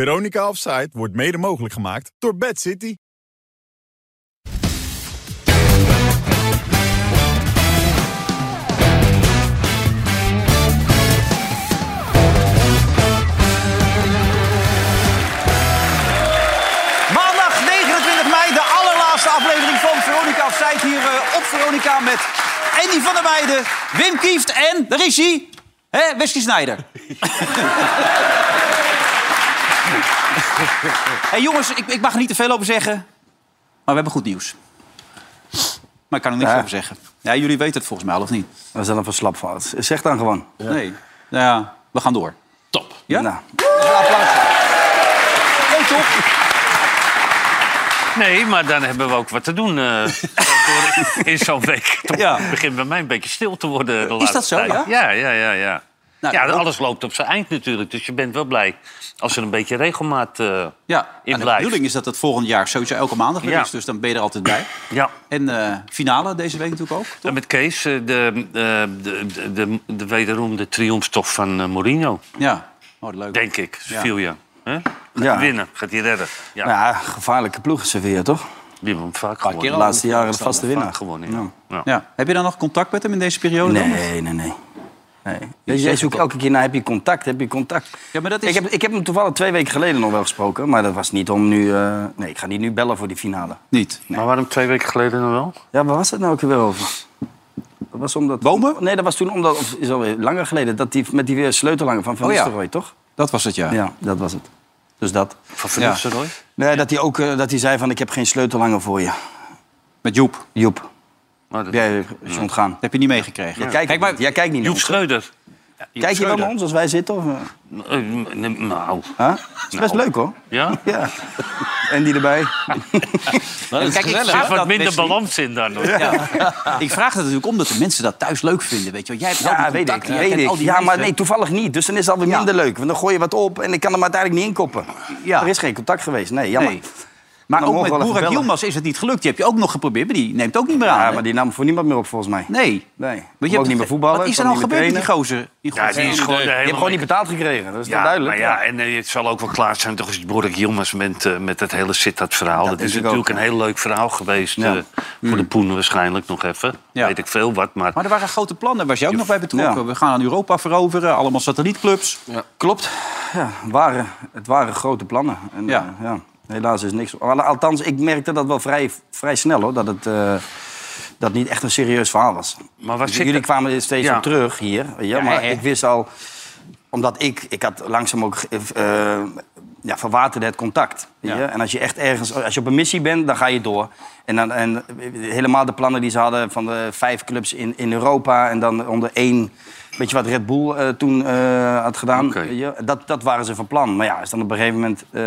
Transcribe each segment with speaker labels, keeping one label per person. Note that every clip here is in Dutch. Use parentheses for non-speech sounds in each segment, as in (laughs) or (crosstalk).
Speaker 1: Veronica Offside wordt mede mogelijk gemaakt door Bad City.
Speaker 2: Maandag 29 mei, de allerlaatste aflevering van Veronica Afzijd hier eh, op Veronica met Andy van der Meijden, Wim Kieft en, daar is hij, hè, Wesley
Speaker 3: (laughs)
Speaker 2: Snijder. hey jongens, ik, ik mag er niet te veel over zeggen, maar we hebben goed nieuws. Maar ik kan er niks
Speaker 3: Ja.
Speaker 2: over zeggen. Ja, jullie weten het volgens mij al, of niet?
Speaker 3: Dat is dan een verslapfout. Zeg dan gewoon.
Speaker 2: Nee. Nou ja, we gaan door.
Speaker 4: Top.
Speaker 2: Ja?
Speaker 3: Nou,
Speaker 2: Nee, toch?
Speaker 4: Nee, maar dan hebben we ook wat te doen eh,
Speaker 2: (laughs)
Speaker 4: door- in zo'n week. Toch
Speaker 2: Ja.
Speaker 4: begint bij mij een beetje stil te worden. de laatste
Speaker 2: dat zo,
Speaker 4: tijd.
Speaker 2: ja?
Speaker 4: Ja, ja, ja. ja.
Speaker 2: Nou,
Speaker 4: ja,
Speaker 2: dat-
Speaker 4: alles loopt op zijn eind natuurlijk. Dus je bent wel blij als er een beetje regelmaat eh,
Speaker 2: Ja,
Speaker 4: in
Speaker 2: en de
Speaker 4: blijft.
Speaker 2: bedoeling is dat het volgend jaar sowieso elke maandag weer
Speaker 4: Ja.
Speaker 2: is. Dus dan ben je er altijd bij.
Speaker 4: Ja.
Speaker 2: En eh, finale deze week natuurlijk ook.
Speaker 4: En met Kees, eh, de, eh, de, de, de, de wederom de triomftof van eh, Mourinho,
Speaker 2: Ja. Oh, leuk.
Speaker 4: denk ik. Sevilla. hè? Gaat
Speaker 3: Ja.
Speaker 4: hij winnen, gaat hij redden. Ja,
Speaker 3: nou ja, gevaarlijke ploeg is Sevilla, toch?
Speaker 4: die hebben hem vaak
Speaker 3: De
Speaker 4: gewonnen.
Speaker 3: laatste jaren de vaste
Speaker 4: Vaak
Speaker 3: winnaar.
Speaker 4: gewonnen, ja. Ja.
Speaker 2: Ja. Heb je dan nog contact met hem in deze periode? dan?
Speaker 3: Nee, nee, nee. nee. Dus jij zoekt elke keer naar, heb je contact, heb je contact.
Speaker 2: Ja, maar dat is-
Speaker 3: ik, heb, ik heb hem toevallig twee weken geleden nog wel gesproken. Maar dat was niet om nu... eh, Nee, ik ga niet nu bellen voor die finale.
Speaker 2: Niet.
Speaker 4: Maar waarom twee weken geleden dan wel?
Speaker 3: Ja, waar was het nou ook weer over? Dat was omdat...
Speaker 2: Bomen?
Speaker 3: Nee, dat was toen omdat... Of is alweer langer geleden. Dat die, met die eh, sleutelhanger van Van
Speaker 2: Oh ja.
Speaker 3: Nistelrooy, toch?
Speaker 2: Dat was het, ja.
Speaker 3: Ja, dat was het. Dus dat.
Speaker 4: Van Van
Speaker 2: Ja.
Speaker 4: Nistelrooy?
Speaker 3: Nee, dat hij ook eh, dat hij zei van ik heb geen sleutelhanger voor je.
Speaker 2: Met Joep.
Speaker 3: Joep,
Speaker 4: Nou, dat-
Speaker 3: jij is ontgaan.
Speaker 2: Dat heb je niet meegekregen.
Speaker 3: Jij kijkt
Speaker 2: Kijk, maar,
Speaker 3: niet. jij kijkt niet naar
Speaker 4: Joep
Speaker 3: ons.
Speaker 4: Schreuder.
Speaker 3: Kijk je wel naar
Speaker 4: Schreuder.
Speaker 3: ons als wij zitten? Of, eh?
Speaker 4: Eh, nee, Nou,
Speaker 3: Huh? Het is best leuk hoor.
Speaker 4: ja?
Speaker 2: (laughs)
Speaker 3: Ja. en die erbij.
Speaker 2: kijk, ik
Speaker 4: Er zit
Speaker 2: vraag,
Speaker 4: wat
Speaker 2: dat,
Speaker 4: minder
Speaker 2: Wesley.
Speaker 4: balans in dan. hoor.
Speaker 2: ik vraag dat natuurlijk omdat de mensen dat thuis leuk vinden. Weet je wel. Jij hebt al
Speaker 3: Ja,
Speaker 2: die
Speaker 3: weet ik.
Speaker 2: contacten, jij
Speaker 3: Weet
Speaker 2: kent
Speaker 3: ik.
Speaker 2: al die
Speaker 3: Ja, maar
Speaker 2: mensen.
Speaker 3: nee, toevallig niet. Dus dan is het alweer
Speaker 2: Ja.
Speaker 3: minder leuk. Want dan gooi je wat op en ik kan hem uiteindelijk niet inkoppen.
Speaker 2: Ja.
Speaker 3: Er is geen contact geweest. Nee, jammer.
Speaker 2: Nee. Maar
Speaker 3: Dan
Speaker 2: ook
Speaker 3: mogen
Speaker 2: met
Speaker 3: we wel even
Speaker 2: Boerak
Speaker 3: bellen.
Speaker 2: Yilmaz is het niet gelukt. Die heb je ook nog geprobeerd, maar die neemt ook niet meer aan.
Speaker 3: Ja,
Speaker 2: hè?
Speaker 3: maar die nam voor niemand meer op volgens mij.
Speaker 2: Nee.
Speaker 3: Nee.
Speaker 2: Maar
Speaker 3: Kon ook niet meer voetballen,
Speaker 2: Wat is er
Speaker 3: kon
Speaker 2: nou
Speaker 3: niet meer
Speaker 2: gebeurd met die gozer? Die
Speaker 4: Ja, die is gewoon eh, de
Speaker 3: Je hebt
Speaker 4: helemaal
Speaker 3: gewoon niet
Speaker 4: niks.
Speaker 3: betaald gekregen. Dat is toch
Speaker 4: Ja,
Speaker 3: duidelijk?
Speaker 4: maar ja, en eh, het zal ook wel klaar zijn toch als Borik Yilmaz met, eh, met dat hele zit dat verhaal. Dat, is
Speaker 3: denk ik
Speaker 4: natuurlijk
Speaker 3: ook,
Speaker 4: een heel leuk verhaal geweest
Speaker 3: Ja. Mm.
Speaker 4: eh, voor de Poen waarschijnlijk nog even.
Speaker 2: Ja.
Speaker 4: Weet ik veel wat, maar,
Speaker 2: Maar er waren grote plannen, was je ook nog bij betrokken.
Speaker 3: Ja.
Speaker 2: We gaan aan Europa veroveren, allemaal satellietclubs.
Speaker 3: Klopt. Ja, waren, het waren grote plannen. En,
Speaker 2: Ja.
Speaker 3: ja. ja, helaas is niks. Al- Althans, ik merkte dat wel vrij, vrij snel hoor. Dat het eh, dat niet echt een serieus verhaal was.
Speaker 4: maar waar
Speaker 3: Dus
Speaker 4: zit
Speaker 3: jullie
Speaker 4: het?
Speaker 3: kwamen er steeds
Speaker 4: Ja.
Speaker 3: op terug hier. weet je,
Speaker 4: Ja,
Speaker 3: maar
Speaker 4: hè, hè.
Speaker 3: ik wist al, omdat ik, ik had langzaam ook eh, ja, verwaterde het contact. weet je.
Speaker 2: Ja.
Speaker 3: En als je echt ergens, als je op een missie bent, dan ga je door. En, dan, en helemaal de plannen die ze hadden van de vijf clubs in, in Europa en dan onder één. Weet je wat Red Bull eh, toen eh, had gedaan?
Speaker 4: Oké.
Speaker 3: weet je. Dat, dat waren ze van plan. Maar ja, als dan op een gegeven moment eh,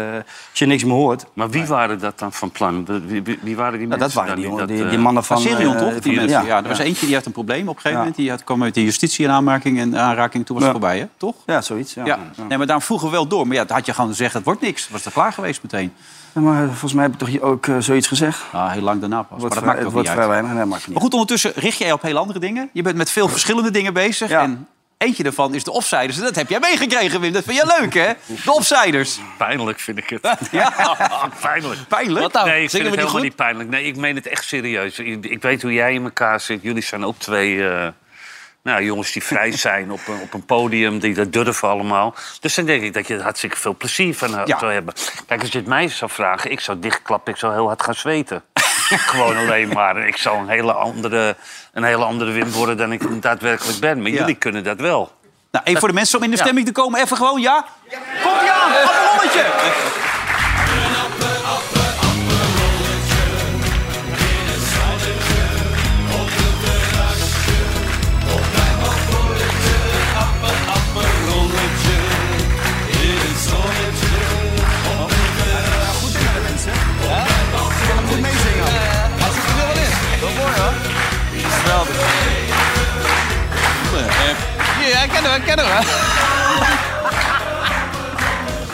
Speaker 3: als je niks meer hoort.
Speaker 4: maar wie waren dat dan van plan? Wie, wie- wie waren die mensen
Speaker 3: Nou,
Speaker 2: dus
Speaker 3: dat waren
Speaker 4: dan
Speaker 3: die, jongen-
Speaker 4: dat,
Speaker 3: die,
Speaker 4: eh,
Speaker 3: die mannen van.
Speaker 2: Van Serion,
Speaker 3: eh,
Speaker 2: toch? Die
Speaker 3: van-
Speaker 2: mensen. Ja.
Speaker 3: Ja,
Speaker 2: er was eentje die had een probleem op een gegeven
Speaker 3: Ja.
Speaker 2: moment. Die had, kwam met de justitie in aanmerking en aanraking. Toen was het
Speaker 3: Ja.
Speaker 2: voorbij, hè? Toch?
Speaker 3: ja, zoiets.
Speaker 2: Ja. Nee, maar daarom vroegen we wel door. Maar ja, dat had je gewoon gezegd, het wordt niks. Was er klaar geweest meteen.
Speaker 3: Ja, Maar volgens mij heb ik toch hier ook eh, zoiets gezegd?
Speaker 2: Ah, heel lang daarna pas.
Speaker 3: Wordt
Speaker 2: maar dat
Speaker 3: vrij-
Speaker 2: maakt
Speaker 3: het
Speaker 2: ook
Speaker 3: wordt
Speaker 2: niet
Speaker 3: vrij
Speaker 2: uit.
Speaker 3: weinig. Nee, maakt niet
Speaker 2: Maar goed, ondertussen richt jij je op heel andere dingen. Je bent met veel verschillende dingen bezig.
Speaker 3: Ja.
Speaker 2: En eentje daarvan is de offsiders. En dat heb jij meegekregen, Wim. Dat vind jij leuk, hè? De offsiders.
Speaker 4: Pijnlijk vind ik het.
Speaker 3: (laughs)
Speaker 4: ja. Pijnlijk.
Speaker 2: Pijnlijk.
Speaker 4: Wat Nee, ik vind het
Speaker 2: Zingen we niet
Speaker 4: helemaal
Speaker 2: goed?
Speaker 4: niet pijnlijk. Nee, ik meen het echt serieus. Ik, ik weet hoe jij in elkaar zit. Jullie zijn ook twee eh, nou, jongens die
Speaker 2: (laughs)
Speaker 4: vrij zijn op, een- op een podium. Die dat durven allemaal. Dus dan denk ik dat je er hartstikke veel plezier van eh,
Speaker 2: Ja.
Speaker 4: zou hebben. Kijk, als je het mij zou vragen, ik zou dichtklappen. Ik zou heel hard gaan zweten. (laughs) Gewoon alleen maar. Ik zou een hele andere, een hele andere Wim worden dan ik daadwerkelijk ben. Maar
Speaker 2: Ja.
Speaker 4: jullie kunnen dat wel.
Speaker 2: Nou, even voor de mensen om in de
Speaker 4: Ja.
Speaker 2: stemming te komen. Even gewoon, ja? Komt ie aan, appelrolletje.
Speaker 5: Ja, kennen we, kennen we.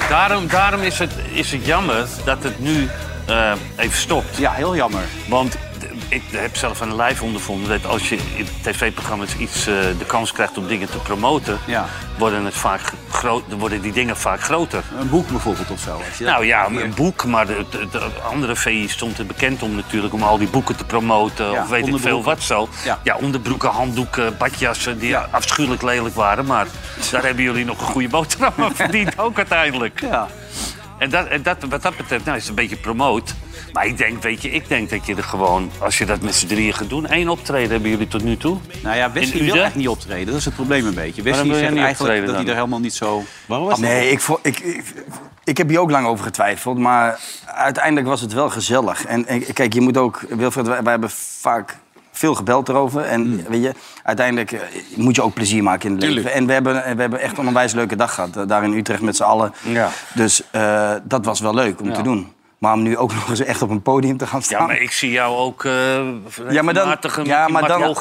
Speaker 4: Daarom, daarom is, het, is het jammer dat het nu eh, even stopt.
Speaker 2: Ja, heel jammer.
Speaker 4: Want d- ik heb zelf aan de lijf ondervonden dat als je in tv-programma's iets eh, de kans krijgt om dingen te promoten,
Speaker 2: Ja.
Speaker 4: worden het vaak ge- groot, dan worden die dingen vaak groter.
Speaker 2: Een boek bijvoorbeeld of zo. Als je dat-
Speaker 4: Nou ja, een boek, maar de, de- de andere VI stond er bekend om natuurlijk... om al die boeken te promoten
Speaker 2: Ja,
Speaker 4: of weet ik veel
Speaker 2: onderbroeken.
Speaker 4: wat zo.
Speaker 2: Ja.
Speaker 4: Ja. onderbroeken, handdoeken, badjassen die
Speaker 2: Ja.
Speaker 4: afschuwelijk lelijk waren...
Speaker 2: (laughs)
Speaker 4: maar daar hebben jullie nog een goede boterham aan verdiend ook uiteindelijk.
Speaker 2: Ja.
Speaker 4: En, dat, en dat, wat dat betreft nou, is het een beetje promoot. Maar ik denk, weet je, ik denk dat je er gewoon... als je dat met z'n drieën gaat doen... één optreden hebben jullie tot nu toe.
Speaker 2: Nou ja, Wesley
Speaker 4: In
Speaker 2: wil
Speaker 4: Uden?
Speaker 2: echt niet optreden. Dat is het probleem een beetje. Wesley
Speaker 4: Waarom wil jij
Speaker 2: zegt
Speaker 4: niet
Speaker 2: eigenlijk
Speaker 4: optreden
Speaker 2: dat hij
Speaker 4: dan?
Speaker 2: er helemaal niet zo... Ah,
Speaker 6: Waarom was
Speaker 3: Nee, ik, vo- ik, ik, ik heb hier ook lang over getwijfeld. Maar uiteindelijk was het wel gezellig. En, en kijk, je moet ook... Wilfred, wij, wij hebben vaak veel gebeld erover. En weet je, uiteindelijk eh, moet je ook plezier maken in het
Speaker 6: Hmm. Tuurlijk.
Speaker 3: leven. En we hebben, en we hebben echt een onwijs leuke dag gehad. eh, Daar in Utrecht met z'n allen.
Speaker 6: Ja.
Speaker 3: Dus eh, dat was wel leuk om te doen. Maar om nu ook (laughs) nog eens echt op een podium te gaan staan...
Speaker 4: Ja, maar ik zie jou ook eh Ah. ja, maar dan, ja, maar dan, gaan.
Speaker 3: ja, maar
Speaker 4: dan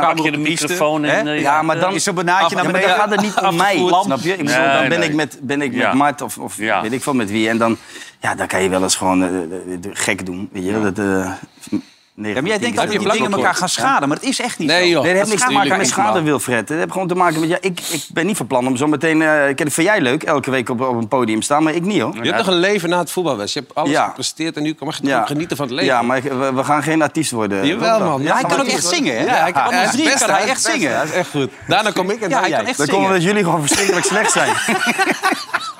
Speaker 4: pak je de
Speaker 2: op de piste,
Speaker 4: microfoon en...
Speaker 2: hè?
Speaker 4: eh,
Speaker 3: Ja, maar dan
Speaker 2: Is er benaadje naar
Speaker 3: Ja, maar
Speaker 2: beneden?
Speaker 3: dan gaat het niet om mij,
Speaker 2: Afgeplant?
Speaker 3: snap je? Ik bedoel,
Speaker 4: Nee,
Speaker 3: dan ben
Speaker 4: nee.
Speaker 3: ik met, ben ik
Speaker 4: Ja.
Speaker 3: met Mart of, of
Speaker 4: Ja.
Speaker 3: weet ik veel met wie. En dan, ja, dan kan je wel eens gewoon eh, eh, eh, gek doen. Weet je? Dat, eh, negen
Speaker 2: Ja, maar jij
Speaker 3: van tien
Speaker 2: denkt dat
Speaker 3: keer
Speaker 6: je
Speaker 2: die
Speaker 3: doet.
Speaker 2: dingen
Speaker 6: plakbord?
Speaker 2: elkaar gaan schaden, maar het is echt niet
Speaker 6: Nee,
Speaker 2: zo.
Speaker 6: joh.
Speaker 3: Nee, dat heeft
Speaker 6: Dat
Speaker 3: niks
Speaker 6: is
Speaker 3: te maken
Speaker 6: tuurlijk
Speaker 3: met
Speaker 6: echt
Speaker 3: schade,
Speaker 6: waar.
Speaker 3: Wilfred. Dat heeft gewoon te maken met... Ja, ik, ik ben niet van plan om zo meteen... eh, ik- vind jij leuk, elke week op, op een podium staan, maar ik niet, hoor.
Speaker 6: Je hebt nog een leven na het voetbalwedstrijd. Je hebt alles
Speaker 3: Ja.
Speaker 6: gepresteerd en nu mag je gewoon genieten van het leven.
Speaker 3: Ja, maar ik- we, we gaan geen artiest worden.
Speaker 6: Jawel, man.
Speaker 2: Ja, hij kan ook
Speaker 6: maar-
Speaker 2: echt zingen, hè?
Speaker 6: Ja, hij kan,
Speaker 2: Onder
Speaker 6: hij is
Speaker 2: drie
Speaker 6: best,
Speaker 2: kan hij echt
Speaker 6: is best,
Speaker 2: zingen.
Speaker 6: Hij is echt goed. Daarna kom ik en
Speaker 2: Ja,
Speaker 6: dan
Speaker 2: hij
Speaker 6: jij.
Speaker 2: kan echt
Speaker 3: Dan komen we
Speaker 2: zingen.
Speaker 3: dat jullie gewoon verschrikkelijk slecht
Speaker 6: (laughs)
Speaker 3: zijn.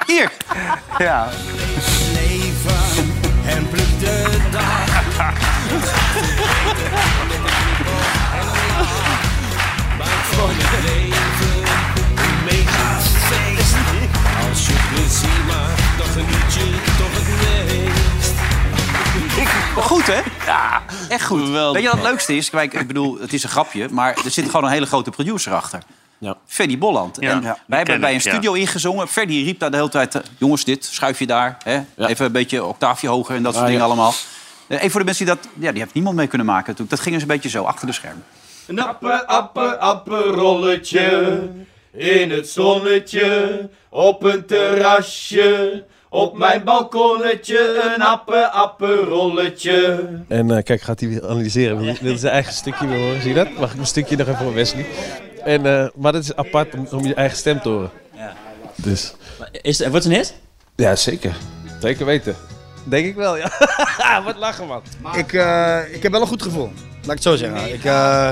Speaker 2: Hier,
Speaker 3: ja.
Speaker 2: goed hè? Ja, echt goed. Weet je wat het leukste is? Kijk, ik bedoel, het is een grapje, maar er zit gewoon een hele grote producer achter.
Speaker 6: Ja.
Speaker 2: Ferdy Bolland.
Speaker 4: Ja,
Speaker 2: en
Speaker 4: die
Speaker 2: wij
Speaker 4: ken
Speaker 2: hebben bij
Speaker 4: ik,
Speaker 2: een studio ingezongen. Ferdy riep daar de hele tijd... eh, jongens, dit, schuif je daar. Hè? Even een beetje octaafje hoger en dat soort
Speaker 6: Ah, ja.
Speaker 2: dingen allemaal. Eh, Even voor de mensen die dat... Ja, die heeft niemand mee kunnen maken natuurlijk. Dat ging dus een beetje zo, achter de schermen.
Speaker 5: Een appe, appe, apperolletje. In het zonnetje, op een terrasje. Op mijn balkonnetje, een appe, apperolletje.
Speaker 7: En eh, kijk, gaat hij weer analyseren. Wil, wil zijn eigen stukje weer horen. Zie je dat? Mag ik een stukje nog even voor Wesley? En, eh, maar dat is apart om, om je eigen stem te horen. Ja. Dus.
Speaker 8: Is, wordt het een hit?
Speaker 7: Ja, zeker. Zeker weten. Denk ik wel, ja. Wat lachen, man.
Speaker 9: Ik, eh, ik heb wel een goed gevoel. Laat ik het zo zeggen. Ik, eh,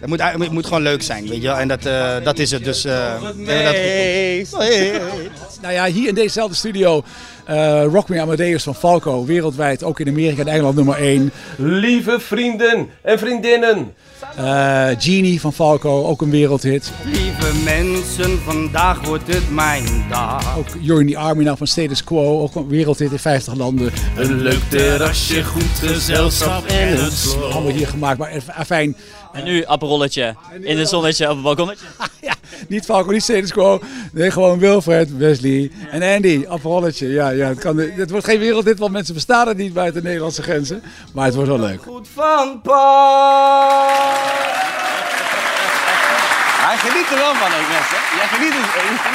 Speaker 9: het, moet, het moet gewoon leuk zijn, weet je wel. En dat, eh, dat is het. Dus, eh, we hebben dat goed gevoel. Hey, hey, hey.
Speaker 10: Nou ja, hier in dezezelfde studio eh Rock Me Amadeus van Falco. Wereldwijd, ook in Amerika en Engeland nummer 1.
Speaker 7: Lieve vrienden en vriendinnen.
Speaker 10: Eh Genie van Falco, ook een wereldhit.
Speaker 3: Lieve mensen, vandaag wordt het mijn dag.
Speaker 10: Ook You're in the Army Now van Status Quo, ook een wereldhit in 50 landen.
Speaker 5: Een leuk terrasje, goed gezelschap en een slot.
Speaker 10: Allemaal hier gemaakt, maar ah, afijn,
Speaker 8: En nu apperolletje in het zonnetje op het balkonnetje.
Speaker 10: Ah,
Speaker 8: (laughs)
Speaker 10: ja, niet Falco, niet Status Quo. Nee, gewoon Wilfred, Wesley en Andy, Apolloetje. Ja, ja, het, kan, het wordt geen wereldhit, want mensen bestaan het niet buiten de Nederlandse grenzen. Maar het wordt wel leuk.
Speaker 3: Goed van pas.
Speaker 2: Hij geniet er wel van, ik Jij geniet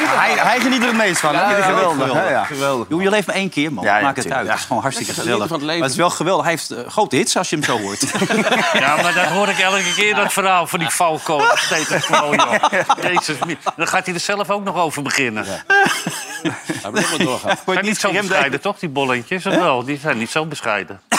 Speaker 3: Hij, hij geniet er het meest van. hè?
Speaker 2: Ja,
Speaker 3: Dit is
Speaker 2: ja,
Speaker 3: geweldig.
Speaker 2: geweldig.
Speaker 3: hè? Ja.
Speaker 2: Joh, je leeft maar één keer, man.
Speaker 3: Ja, ja,
Speaker 2: Maak het
Speaker 3: tuurlijk,
Speaker 2: uit.
Speaker 3: ja.
Speaker 2: Het is gewoon hartstikke
Speaker 6: Lekker genieten
Speaker 2: gezellig.
Speaker 6: van het
Speaker 2: Maar
Speaker 6: leven.
Speaker 2: het is wel geweldig. Hij heeft eh, grote hits als je hem zo hoort.
Speaker 4: (laughs) Ja, maar dat hoor ik elke keer, dat verhaal van die Falco. Dat steekt het gewoon, (laughs) joh. Jezus, mie- dan gaat hij er zelf ook nog over beginnen.
Speaker 6: Hij blijft maar doorgaan.
Speaker 4: Zijn niet zo bescheiden, toch, die bolletjes? Of wel? Die zijn niet zo bescheiden.
Speaker 2: (laughs)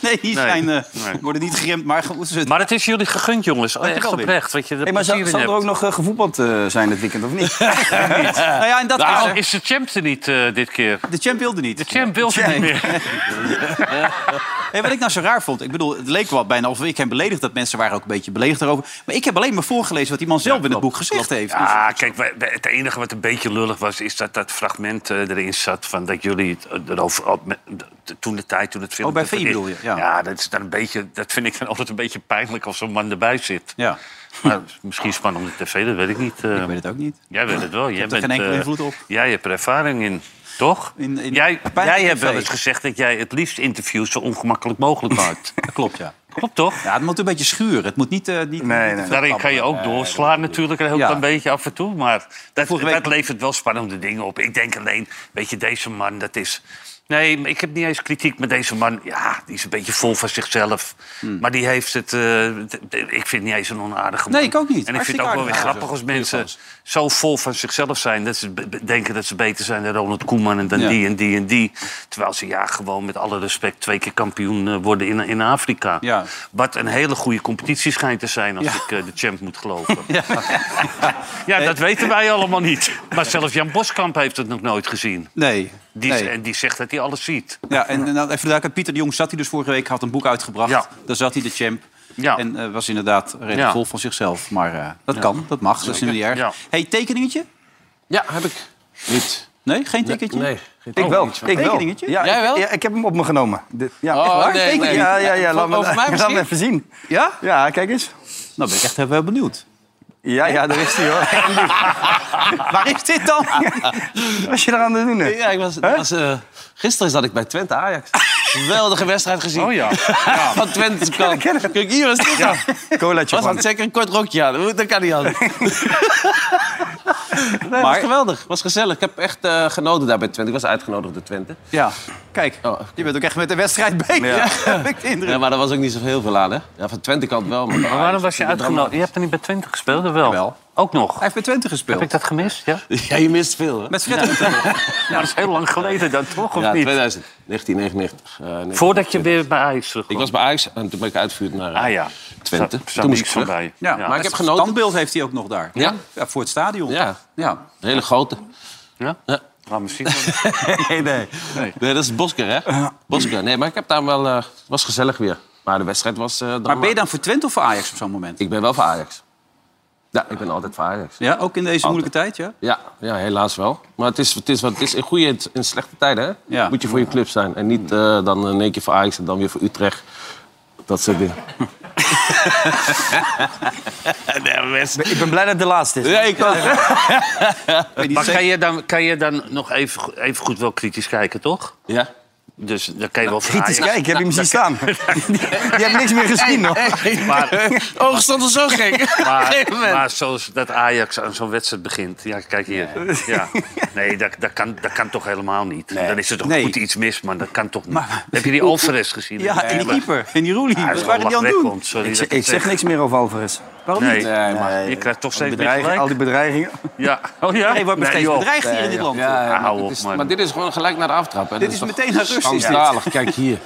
Speaker 2: nee, die
Speaker 4: Nee,
Speaker 2: zijn, eh,
Speaker 4: nee.
Speaker 2: (laughs) worden niet geremd, maar goed. ze-
Speaker 4: Maar het is jullie gegund, jongens. Oh, Echt
Speaker 2: wel weer.
Speaker 4: oprecht. Wat je er
Speaker 3: Hey, maar zou,
Speaker 4: plezier in
Speaker 3: zou er ook
Speaker 4: hebt.
Speaker 3: nog eh, gevoetbald eh, zijn dit weekend, of
Speaker 4: (laughs)
Speaker 3: niet?
Speaker 2: (laughs) Nou ja, en dat is,
Speaker 4: Ah,
Speaker 2: eh,
Speaker 4: Is de champ er niet eh, dit keer?
Speaker 2: de champ wilde niet.
Speaker 4: De champ wil ze
Speaker 2: Nee.
Speaker 4: niet meer.
Speaker 2: (laughs) Hey, wat ik nou zo raar vond, ik bedoel, het leek wel bijna of ik hem beledigd dat mensen waren ook een beetje beledigd daarover. Maar ik heb alleen maar voorgelezen wat die man zelf in het boek gezegd heeft. Dus-
Speaker 4: Ah, kijk, wij- wij- het enige wat een beetje lullig was, is dat dat fragment eh, erin zat van dat jullie het, eh, erover op- met- de- toen de tijd, toen het film.
Speaker 2: Oh, bij
Speaker 4: dat het
Speaker 2: VI
Speaker 4: is-
Speaker 2: bedoel je, ja.
Speaker 4: dat is dan een beetje, dat vind ik dan (laughs) altijd een beetje pijnlijk als zo'n man erbij zit.
Speaker 2: ja,
Speaker 4: Maar misschien spannende tv, dat weet ik niet. eh.
Speaker 2: ik weet het ook niet.
Speaker 4: Jij weet het wel. Jij
Speaker 2: heb
Speaker 4: bent,
Speaker 2: er geen enkele
Speaker 4: eh,
Speaker 2: invloed op.
Speaker 4: Jij hebt er ervaring in, toch?
Speaker 2: In- in-
Speaker 4: jij
Speaker 2: bij
Speaker 4: jij
Speaker 2: de
Speaker 4: hebt
Speaker 2: tv.
Speaker 4: wel eens gezegd dat jij het liefst interviews zo ongemakkelijk mogelijk
Speaker 2: (laughs)
Speaker 4: maakt.
Speaker 2: Dat klopt, ja.
Speaker 4: Klopt toch?
Speaker 2: Ja, het moet een beetje schuren. Het moet niet... eh, niet
Speaker 3: Nee,
Speaker 2: niet- Eh,
Speaker 3: nee.
Speaker 4: Daarin kan je
Speaker 11: Eh,
Speaker 4: ook doorslaan natuurlijk een heel
Speaker 2: Ja.
Speaker 4: klein beetje af en toe. Maar dat,
Speaker 2: Vorige week-
Speaker 4: dat levert wel spannende dingen op. Ik denk alleen, weet je, deze man, dat is... Nee, maar ik heb niet eens kritiek met deze man. Ja, die is een beetje vol van zichzelf.
Speaker 11: Hmm.
Speaker 4: Maar die heeft het... eh, d- d- ik vind het niet eens een onaardige man.
Speaker 11: Nee, ik ook niet.
Speaker 4: En ik vind
Speaker 11: Hartstikke
Speaker 4: het ook wel weer
Speaker 11: aardig.
Speaker 4: grappig als mensen zo vol van zichzelf zijn... dat ze be- be- denken dat ze beter zijn dan Ronald Koeman en dan
Speaker 11: Ja.
Speaker 4: die en die en die. Terwijl ze ja, gewoon met alle respect twee keer kampioen eh, worden in, in Afrika.
Speaker 11: Ja.
Speaker 4: Wat een hele goede competitie schijnt te zijn als ik eh, de champ moet geloven. Ja, dat weten wij allemaal niet. Maar zelfs Jan Boskamp heeft het nog nooit gezien.
Speaker 2: Nee.
Speaker 4: Die,
Speaker 2: nee.
Speaker 4: En die zegt dat hij alles ziet.
Speaker 2: Ja, en, en nou, even duidelijk, Pieter de Jong zat hij dus vorige week, had een boek uitgebracht.
Speaker 4: Ja.
Speaker 2: Daar zat hij de champ. En eh, was inderdaad redelijk
Speaker 4: Ja.
Speaker 2: vol van zichzelf. Maar eh, dat
Speaker 4: Ja.
Speaker 2: kan, dat mag, dat is
Speaker 4: Zeker.
Speaker 2: niet erg.
Speaker 4: Ja.
Speaker 2: hey, tekeningetje?
Speaker 7: Ja, heb ik niet.
Speaker 2: Nee, geen tekeningetje?
Speaker 7: Nee.
Speaker 3: Ik
Speaker 2: Oh,
Speaker 3: wel.
Speaker 2: iets van-
Speaker 3: Ik wel.
Speaker 2: Tekeningetje?
Speaker 3: Ja,
Speaker 2: Jij
Speaker 3: ik-
Speaker 2: wel?
Speaker 3: Ja, ik heb hem op me genomen. De- ja,
Speaker 2: Oh,
Speaker 3: echt waar?
Speaker 2: nee,
Speaker 3: Teken-
Speaker 2: nee.
Speaker 3: Ja, ja, ja. Laat
Speaker 2: Over
Speaker 3: me, (laughs)
Speaker 2: mij
Speaker 3: laat me
Speaker 2: misschien?
Speaker 3: even zien.
Speaker 2: Ja?
Speaker 3: Ja, kijk eens.
Speaker 2: Nou, ben ik echt heel benieuwd.
Speaker 3: Ja, ja, daar is hij hoor.
Speaker 2: (laughs) Waar is dit dan?
Speaker 3: (laughs) Wat was je eraan te doen? hè?
Speaker 7: Ja, ik was, was, eh, gisteren zat ik bij Twente Ajax. Geweldige wedstrijd gezien.
Speaker 4: Oh ja.
Speaker 7: Van Twente kant. Kijk, hier was dit dan.
Speaker 3: Colaatje
Speaker 7: Was
Speaker 3: van.
Speaker 7: dat zeker een kort rokje aan? Hoe- Dat kan niet anders. nee, was geweldig. was gezellig. Ik heb echt eh, genoten daar bij Twente. Ik was uitgenodigd door Twente.
Speaker 2: Ja, kijk. Je bent ook echt met de wedstrijd (laughs) bezig.
Speaker 3: Ja.
Speaker 2: heb ik de indruk.
Speaker 7: Oh. Ja, maar daar was ook niet zo heel veel aan, hè? Ja, van Twente kant wel. Maar
Speaker 4: Maar waarom was je uitgenodigd? Je hebt er niet bij 20 gespeeld, of wel?
Speaker 2: Wel.
Speaker 4: Ook nog.
Speaker 2: Hij heeft bij Twente gespeeld.
Speaker 4: Heb ik dat gemist? Ja,
Speaker 7: Ja, je mist veel, hè?
Speaker 2: Met Fred Rutte.
Speaker 4: ja dat is heel lang geleden dan toch, of
Speaker 7: Ja,
Speaker 4: niet?
Speaker 7: 2000. 1999. eh, 1999.
Speaker 4: Voordat je weer bij Ajax terug.
Speaker 7: Ik was bij Ajax en toen ben ik uitgevuurd naar eh,
Speaker 4: Ah ja.
Speaker 7: Twente.
Speaker 4: Zat- zat
Speaker 7: toen moest ik
Speaker 4: niks
Speaker 7: terug.
Speaker 4: voorbij.
Speaker 2: Ja,
Speaker 4: Ja.
Speaker 7: maar ik heb genoten.
Speaker 2: Standbeeld heeft hij ook nog daar.
Speaker 7: Ja?
Speaker 2: Ja, voor het stadion.
Speaker 7: Ja,
Speaker 2: ja.
Speaker 7: een hele grote.
Speaker 4: Ja?
Speaker 7: Ja.
Speaker 4: Laat me zien.
Speaker 2: Nee, nee.
Speaker 7: Nee, dat is Bosker, hè? Bosker. Nee, maar ik heb daar wel... eh, Het was gezellig weer. Maar de wedstrijd was... eh
Speaker 2: Maar ben je
Speaker 7: dramatisch.
Speaker 2: dan voor Twente of voor Ajax op zo'n moment?
Speaker 7: Ik ben wel voor Ajax. Ja, ik ben altijd voor Ajax.
Speaker 2: Ja, ook in deze moeilijke tijd, ja?
Speaker 7: Ja, ja helaas wel. Maar het is, het is, wat het is in goede en in slechte tijden. Hè?
Speaker 2: Ja.
Speaker 7: Moet je voor je club zijn. En niet eh, dan in één keer voor Ajax en dan weer voor Utrecht. Dat soort dingen.
Speaker 3: Ik ben blij dat het de laatste is.
Speaker 7: Ja, ik ook.
Speaker 4: Maar kan je dan, kan je dan nog even, go- even goed wel kritisch kijken, toch?
Speaker 7: Ja.
Speaker 4: Dus dan kan je wel
Speaker 3: Nou, Kritisch
Speaker 4: voor Ajax-
Speaker 3: kijken, heb je hem zien staan? (laughs) Je hebt niks meer gezien, hoor.
Speaker 4: Maar,
Speaker 3: (laughs)
Speaker 7: Ogen stonden zo gek.
Speaker 4: maar, maar zoals dat Ajax aan zo'n wedstrijd begint. Ja, kijk hier.
Speaker 2: (laughs)
Speaker 4: Ja. Nee, dat, dat, kan, dat kan toch helemaal niet. Dan is er toch
Speaker 2: Nee.
Speaker 4: goed iets mis, maar dat kan toch niet. Heb je die Alvarez gezien?
Speaker 2: Ja, en die keeper. En die Roelie.
Speaker 4: Hij
Speaker 2: Wat
Speaker 4: is
Speaker 2: waren die aan het doen?
Speaker 4: lachwekkend, sorry
Speaker 3: Ik,
Speaker 4: dat
Speaker 3: zeg- ik zeg
Speaker 4: het
Speaker 3: niks meer over Alvarez.
Speaker 2: Waarom
Speaker 4: Nee.
Speaker 2: niet?
Speaker 7: Nee, maar...
Speaker 4: Je krijgt toch steeds meer
Speaker 3: Bedreigen,
Speaker 4: gelijk.
Speaker 3: al die bedreigingen.
Speaker 4: Ja. Oh ja?
Speaker 2: Hij wordt
Speaker 4: Nee,
Speaker 2: steeds
Speaker 4: joh.
Speaker 2: bedreigd hier in dit land.
Speaker 7: Ja, ja, maar,
Speaker 4: Hou
Speaker 7: dit
Speaker 4: op,
Speaker 7: is,
Speaker 4: man.
Speaker 7: maar dit is gewoon gelijk naar de aftrap. Hè?
Speaker 2: Dit is meteen naar rust, is dit.
Speaker 7: Schandalig, kijk hier.